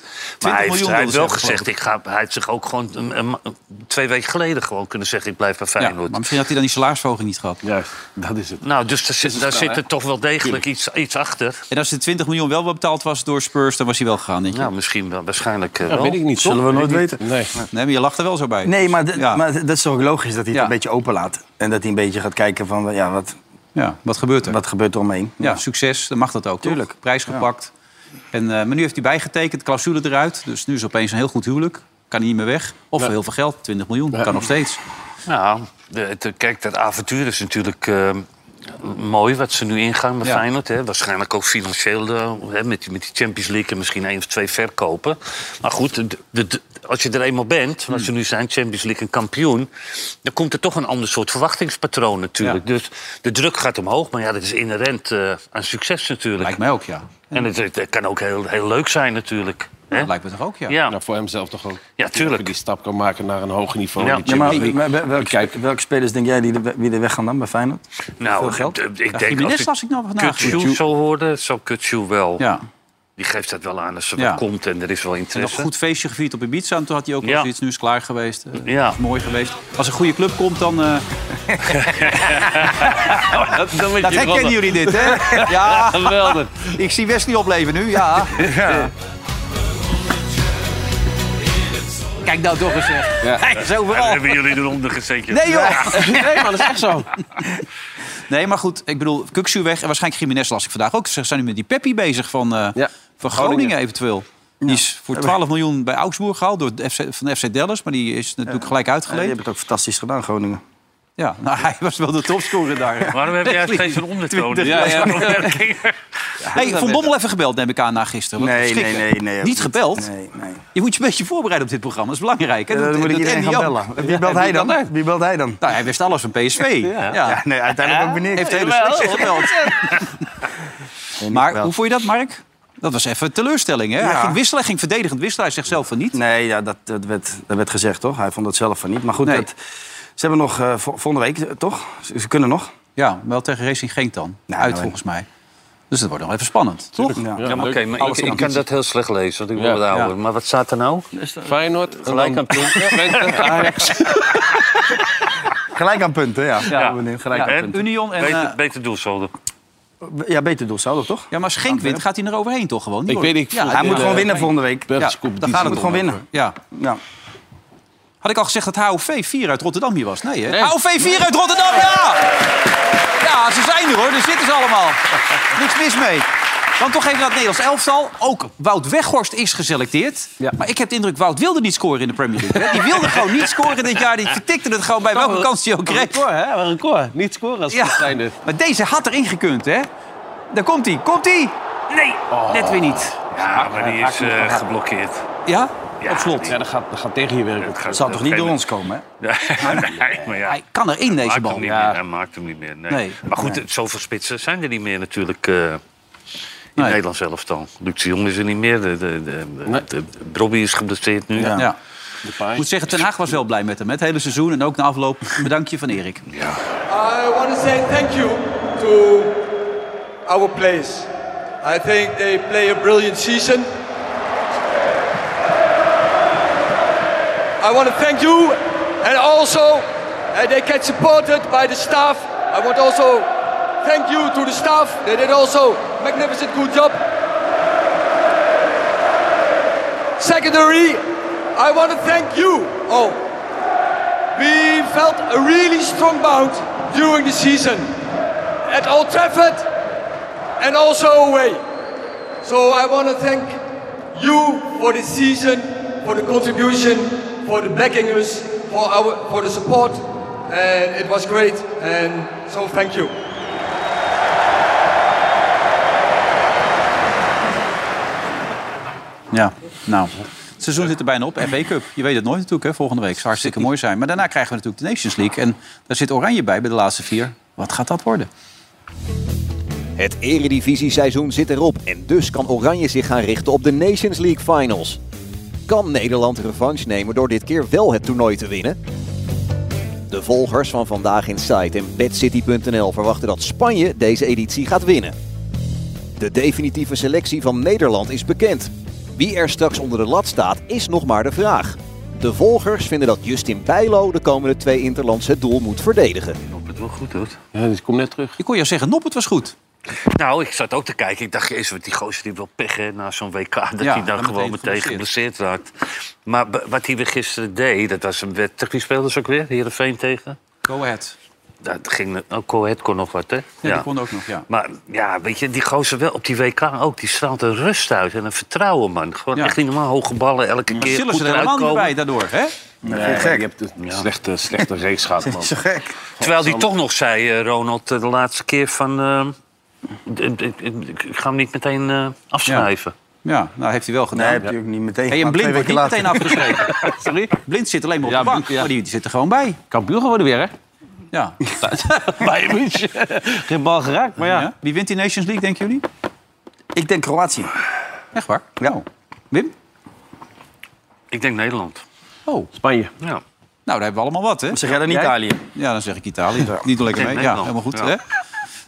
Speaker 4: Maar hij heeft,
Speaker 2: miljoen
Speaker 4: hij heeft wel
Speaker 2: wilde ze
Speaker 4: gezegd,
Speaker 2: hebben,
Speaker 4: ik ga, hij heeft zich ook gewoon een- een ma- twee weken geleden gewoon kunnen zeggen, ik blijf bij
Speaker 2: Ja,
Speaker 4: Feyenoord.
Speaker 2: maar misschien had hij dan die salarisverhoging niet gehad. Juist, dat is het.
Speaker 4: Nou, dus daar zit, daar
Speaker 2: wel,
Speaker 4: zit
Speaker 2: hè?
Speaker 4: er toch wel degelijk iets, iets achter.
Speaker 2: En als de 20 miljoen wel betaald was door Spurs, dan was hij wel gegaan, denk je?
Speaker 4: Nou, misschien wel, waarschijnlijk eh,
Speaker 2: Ja,
Speaker 4: wel.
Speaker 2: weet ik niet,
Speaker 3: Zullen we
Speaker 2: Weet
Speaker 3: nooit
Speaker 2: ik niet.
Speaker 3: weten.
Speaker 2: Nee. maar je lacht er wel zo bij.
Speaker 3: Nee, maar, d-
Speaker 2: Ja.
Speaker 3: maar d- dat is toch logisch dat hij het een beetje open laat. En dat hij een beetje gaat kijken van, ja, wat,
Speaker 2: Ja, wat gebeurt er?
Speaker 3: wat gebeurt er omheen?
Speaker 2: Ja, succes, dan mag dat ook. Tuurlijk. Prijs gepakt. En, eh, maar nu heeft hij bijgetekend, clausule eruit. Dus nu is opeens een heel goed huwelijk. Kan hij niet meer weg. Of voor heel veel geld, 20 miljoen. Kan nog steeds.
Speaker 4: Nou, de, het- kijk, dat avontuur is natuurlijk eh, mooi wat ze nu ingaan met
Speaker 2: Ja.
Speaker 4: Feyenoord. Hè. Waarschijnlijk ook financieel eh, hè, met, die, met die Champions League en misschien één of twee verkopen. Maar goed, de- de- de- als je er eenmaal bent, als ze nu zijn Champions League en kampioen... dan komt er toch een ander soort verwachtingspatroon natuurlijk. Dus de druk gaat omhoog, maar ja, dat is inherent eh, aan succes natuurlijk. Lijkt
Speaker 2: mij ook, ja.
Speaker 4: En het, het kan ook heel, heel leuk zijn natuurlijk. Hè?
Speaker 7: lijkt me toch ook, ja.
Speaker 4: Ja.
Speaker 7: Nou, voor hemzelf toch ook.
Speaker 4: Ja, tuurlijk.
Speaker 7: Dat je die stap kan maken naar een hoger niveau. in de
Speaker 3: Ja, maar
Speaker 7: Champions League.
Speaker 3: maar wel- welke, welke spelers denk jij die de, wie er weg gaan dan bij Feyenoord?
Speaker 4: Nou,
Speaker 3: Veel geld?
Speaker 4: d- d-
Speaker 3: Ja,
Speaker 4: ik denk
Speaker 3: Jiménez
Speaker 4: als
Speaker 3: las ik nou vandaag.
Speaker 4: Kutsu
Speaker 3: Kutsu.
Speaker 4: zou worden, zou Kutsu wel.
Speaker 2: Ja.
Speaker 4: Die geeft dat wel aan als ze
Speaker 2: Ja.
Speaker 4: wel komt en er is wel
Speaker 2: Ze hebben
Speaker 4: interesse.
Speaker 2: een goed feestje gevierd op Ibiza. En toen had hij ook wel
Speaker 4: Ja.
Speaker 2: zoiets. Nu is het klaar geweest. Eh,
Speaker 4: Ja.
Speaker 2: is mooi geweest. Als een goede club komt, dan... eh,
Speaker 4: dat
Speaker 2: dat herkennen jullie dit, hè? Ja. Geweldig. Ik zie Wesley opleven nu, ja. Kijk nou toch eens, zeg. Hij is overal.
Speaker 4: Ja, hebben jullie eronder gezeten.
Speaker 2: Nee,
Speaker 4: Ja.
Speaker 2: joh. Nee, man, dat is echt zo. Nee, maar goed. Ik bedoel, Kuksu weg. En waarschijnlijk Jiménez las ik vandaag ook. Ze zijn nu met die Peppi bezig van, eh, van Groningen,
Speaker 3: Groningen.
Speaker 2: eventueel. Die is voor 12 miljoen bij Augsburg gehaald door de FC, van de FC Dallas. Maar die is natuurlijk gelijk
Speaker 3: Ja, die
Speaker 2: uitgeleend.
Speaker 3: hebben het ook fantastisch gedaan, Groningen.
Speaker 2: Ja, (laughs) nou, hij was wel de topscorer daar.
Speaker 4: Waarom heb jij steeds een ondertoon?
Speaker 2: ondertoon? Ja,
Speaker 4: (laughs)
Speaker 2: ja. Hey,
Speaker 3: dat
Speaker 2: Van
Speaker 3: weet
Speaker 2: Bommel even gebeld, neem ik aan, na gisteren. Wat
Speaker 3: Nee,
Speaker 2: verschrikkelijk.
Speaker 3: nee, nee, nee.
Speaker 2: Niet gebeld?
Speaker 3: Nee, nee.
Speaker 2: Je moet je een beetje voorbereiden op dit programma, dat is belangrijk. hè?
Speaker 3: Ja, dan
Speaker 2: Dat-
Speaker 3: moet ik
Speaker 2: dat
Speaker 3: iedereen
Speaker 2: Andy
Speaker 3: gaan
Speaker 2: ook.
Speaker 3: bellen. Wie belt hij dan? Wie belt hij dan?
Speaker 2: Nou, hij wist alles van PSV.
Speaker 3: Ja. Ja, nee, uiteindelijk ook weer niks.
Speaker 2: Heeft de hele
Speaker 3: Jawel.
Speaker 2: selectie (laughs) gebeld. maar hoe vond je dat, Mark? Dat was even teleurstelling, hè? Hij
Speaker 3: Ja.
Speaker 2: ging wisselen, hij ging verdedigend wisselen. Hij zegt zelf van niet.
Speaker 3: Nee, ja, dat, dat, werd, dat werd gezegd, toch? Hij vond dat zelf van niet. Maar goed,
Speaker 2: Nee.
Speaker 3: dat, ze hebben nog eh, vo- volgende week, eh, toch? Ze, ze kunnen nog.
Speaker 2: Ja, wel tegen Racing Genk dan. Uit,
Speaker 3: nou,
Speaker 2: volgens mij. Dus dat wordt nog even spannend, toch?
Speaker 3: Ja.
Speaker 4: Ja, maar oké, maar ik,
Speaker 2: Alles
Speaker 4: ik
Speaker 2: kan
Speaker 4: kan dat heel slecht lezen, want ik
Speaker 2: Ja.
Speaker 4: wil het ouder.
Speaker 2: Ja.
Speaker 4: Maar wat staat er nou?
Speaker 7: Feyenoord. en
Speaker 4: Gelijk aan
Speaker 7: dan Twente, Ajax.
Speaker 3: Gelijk aan punten, ja.
Speaker 2: Ja.
Speaker 3: meneer, gelijk aan
Speaker 2: En
Speaker 3: punten.
Speaker 2: Union en...
Speaker 4: beter,
Speaker 2: eh,
Speaker 4: beter doelzolder.
Speaker 3: Ja, beter doelsaldo, toch?
Speaker 2: ja, maar als Genk wint, gaat hij er overheen toch gewoon? Die
Speaker 3: Ik
Speaker 2: wordt-
Speaker 3: weet niet,
Speaker 2: Ja,
Speaker 3: hij moet gewoon winnen volgende week.
Speaker 2: Ja,
Speaker 3: Belgische competitie. Hij moet gewoon winnen.
Speaker 2: Ja.
Speaker 3: Ja.
Speaker 2: Had ik al gezegd dat HOV 4 uit Rotterdam hier was? Nee, hè?
Speaker 7: Nee.
Speaker 2: HOV 4 uit Rotterdam, ja! Ja, ze zijn er hoor. Daar zitten ze allemaal. Niks mis mee. Dan toch even dat Nederlands elftal. Ook Wout Weghorst is geselecteerd. Maar ik heb de indruk, Wout wilde niet scoren in de Premier League. hè? Die wilde gewoon niet scoren dit jaar. Die vertikte het gewoon bij welke kans hij ook kreeg.
Speaker 7: Record, hè? Een record. Niet scoren als
Speaker 2: Ja.
Speaker 7: zijnde.
Speaker 2: Maar deze had erin gekund, hè? Daar komt hij. Komt hij?
Speaker 4: Nee!
Speaker 2: Net weer niet.
Speaker 4: Ja, maar die is eh, geblokkeerd.
Speaker 2: Ja?
Speaker 4: Ja,
Speaker 2: Op slot.
Speaker 4: die-
Speaker 7: Ja, dat gaat, dat gaat tegen je werken.
Speaker 4: dat gaat-
Speaker 2: Het zal toch niet
Speaker 4: dat
Speaker 2: door ons
Speaker 4: geeft-
Speaker 2: komen, hè?
Speaker 4: (laughs) Nee, maar ja.
Speaker 2: Hij kan erin, deze
Speaker 4: Maakt
Speaker 2: bal.
Speaker 4: hem niet meer, hij maakt hem niet meer. Nee.
Speaker 2: Nee.
Speaker 4: Maar goed, het- zoveel spitsen zijn er niet meer natuurlijk. eh in Nederland zelf dan. Luc de Jong is er niet meer. De, de, de, de, de- Robbie is geblesseerd nu.
Speaker 2: Ja. Ik moet zeggen, Ten Haag was wel blij met hem. hè, Het hele seizoen en ook na (laughs) afloop. Bedankt je van Erik.
Speaker 27: I want to say thank you to our players. I think they play a brilliant season. I want to thank you, and also uh, they get supported by the staff. I want also thank you to the staff. They did also magnificent good job. Secondary, I want to thank you. Oh, all. We felt a really strong bound during the season at Old Trafford and also away. So I want to thank you for the season, for the contribution, for the backing us, for our for the support, and it was great. And so thank you.
Speaker 2: Ja, nou. Het seizoen zit er bijna op. FA Cup. Je weet het nooit natuurlijk, hè, volgende week. Het zou hartstikke mooi zijn. Maar daarna krijgen we natuurlijk de Nations League. En daar zit Oranje bij, bij de laatste vier. Wat gaat dat worden?
Speaker 1: Het eredivisie-seizoen zit erop en dus kan Oranje zich gaan richten op de Nations League Finals. Kan Nederland revanche nemen door dit keer wel het toernooi te winnen? De volgers van Vandaag in Site en BadCity.nl verwachten dat Spanje deze editie gaat winnen. De definitieve selectie van Nederland is bekend. Wie er straks onder de lat staat, is nog maar de vraag. De volgers vinden dat Justin Bijlo de komende twee Interlands het doel moet verdedigen.
Speaker 4: Het wel goed doet.
Speaker 7: Ja, dus ik kom net terug.
Speaker 2: Ik kon je zeggen, Nop, het was goed.
Speaker 4: Nou, ik zat ook te kijken. Ik dacht, jezus, wat die gozer die wil pech hè, na zo'n WK. Dat
Speaker 2: Ja,
Speaker 4: hij
Speaker 2: dan
Speaker 4: dan gewoon
Speaker 2: meteen
Speaker 4: meteen geblesseerd raakt. Maar b- wat hij weer gisteren deed, dat was een wet. tegen Wie speelde ze ook weer? Heerenveen tegen?
Speaker 2: Go ahead.
Speaker 4: Dat ging, oh, Coët kon nog wat, hè?
Speaker 2: Ja, die kon ook nog, ja.
Speaker 4: Maar ja, weet je, die gozer wel op die WK ook. Die straalt een rust uit en een vertrouwen, man. Gewoon echt niet normaal. Hoge ballen elke keer.
Speaker 2: Sillen
Speaker 4: goed
Speaker 2: ze er
Speaker 4: eruit
Speaker 2: helemaal niet
Speaker 4: komen.
Speaker 2: bij daardoor, hè?
Speaker 4: Nee, vind ik gek.
Speaker 28: je hebt een slechte, slechte reeks gehad,
Speaker 2: (laughs)
Speaker 28: man.
Speaker 3: gek.
Speaker 4: Terwijl die toch nog zei, eh, Ronald, eh, de laatste keer van... eh, ik- ik- ik- ik ga hem niet meteen eh, afschrijven.
Speaker 2: Ja, nou heeft hij wel gedaan.
Speaker 3: Nee, heeft hij ook niet meteen
Speaker 2: Hey, en
Speaker 3: gedaan,
Speaker 2: Blind
Speaker 3: twee
Speaker 2: wordt niet meteen
Speaker 3: weken later.
Speaker 2: afgeschreven.
Speaker 3: (laughs)
Speaker 2: Sorry? Blind zit alleen maar op de bank. Maar die, die zit er gewoon bij.
Speaker 7: Kampioen geworden weer, hè?
Speaker 2: Ja.
Speaker 7: Bij München. Geen bal geraakt, maar ja.
Speaker 2: Wie wint die Nations League, denken jullie?
Speaker 3: Ik denk Kroatië.
Speaker 2: Echt waar?
Speaker 3: Ja.
Speaker 2: Wim?
Speaker 4: Ik denk Nederland.
Speaker 2: Oh.
Speaker 4: Spanje. Ja.
Speaker 2: Nou, daar hebben we allemaal wat, hè?
Speaker 4: Zeg jij dan Italië?
Speaker 2: Ja, dan zeg ik Italië. Niet lekker
Speaker 4: Ik
Speaker 2: mee.
Speaker 4: denk
Speaker 2: Ja,
Speaker 4: Nederland.
Speaker 2: helemaal goed.
Speaker 4: Ja.
Speaker 2: Hè?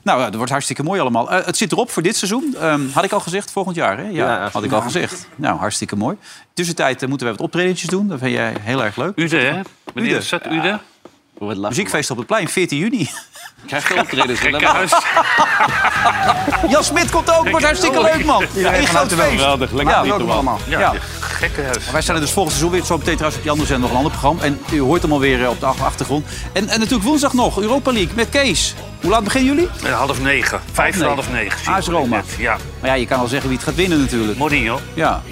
Speaker 2: Nou, het wordt hartstikke mooi allemaal. Eh, het zit erop voor dit seizoen. Ehm, had ik al gezegd, volgend jaar, hè? Ja,
Speaker 4: Ja.
Speaker 2: had ik al gezegd. Nou, hartstikke mooi. Tussentijd eh, moeten we wat optredentjes doen. Dat vind jij heel erg leuk.
Speaker 4: Ude, hè? Wanneer is dat, Ude?
Speaker 2: Muziekfeest op het plein, 14 juni. (laughs)
Speaker 4: Krijg je optredens?
Speaker 2: Jan Smit komt ook, wordt hartstikke leuk, man. Ja, een groot feest. ja, welkom allemaal. Ja.
Speaker 4: Gekke huis.
Speaker 2: Maar wij staan er dus volgend seizoen weer zo meteen trouwens op die andere zender nog een ander programma. En u hoort hem alweer eh, op de ach- achtergrond. En, en natuurlijk woensdag nog, Europa League met Kees. Hoe laat beginnen jullie?
Speaker 4: Eh, Half negen. Vijf voor half negen.
Speaker 2: AS Roma.
Speaker 4: Ja.
Speaker 2: Maar ja, je kan wel zeggen wie het gaat winnen natuurlijk.
Speaker 4: Mourinho.
Speaker 2: Ja.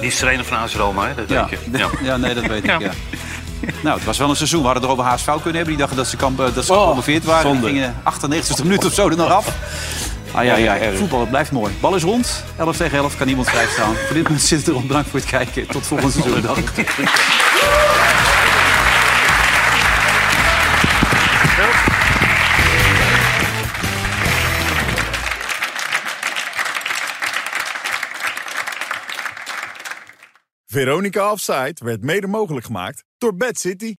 Speaker 4: Die is trainer van AS Roma, hè? Dat
Speaker 2: Ja.
Speaker 4: weet
Speaker 2: (laughs)
Speaker 4: je. Ja.
Speaker 2: ja, nee, dat weet
Speaker 4: Ja.
Speaker 2: ik, ja. Nou, het was wel een seizoen. We hadden het over HSV kunnen hebben. Die dachten dat ze, kamp, eh, dat ze gepromoveerd waren. Die
Speaker 4: zonde.
Speaker 2: gingen 98 minuut of zo er nog af. Ah ja, ja,
Speaker 4: Erg, erg.
Speaker 2: voetbal het blijft mooi. Bal is rond. 11 tegen 11 kan niemand vrij staan. Voor dit moment zit het erop. Bedankt voor het kijken. Tot volgende seizoen. Dag.
Speaker 29: Veronica Offside werd mede mogelijk gemaakt door Bad City.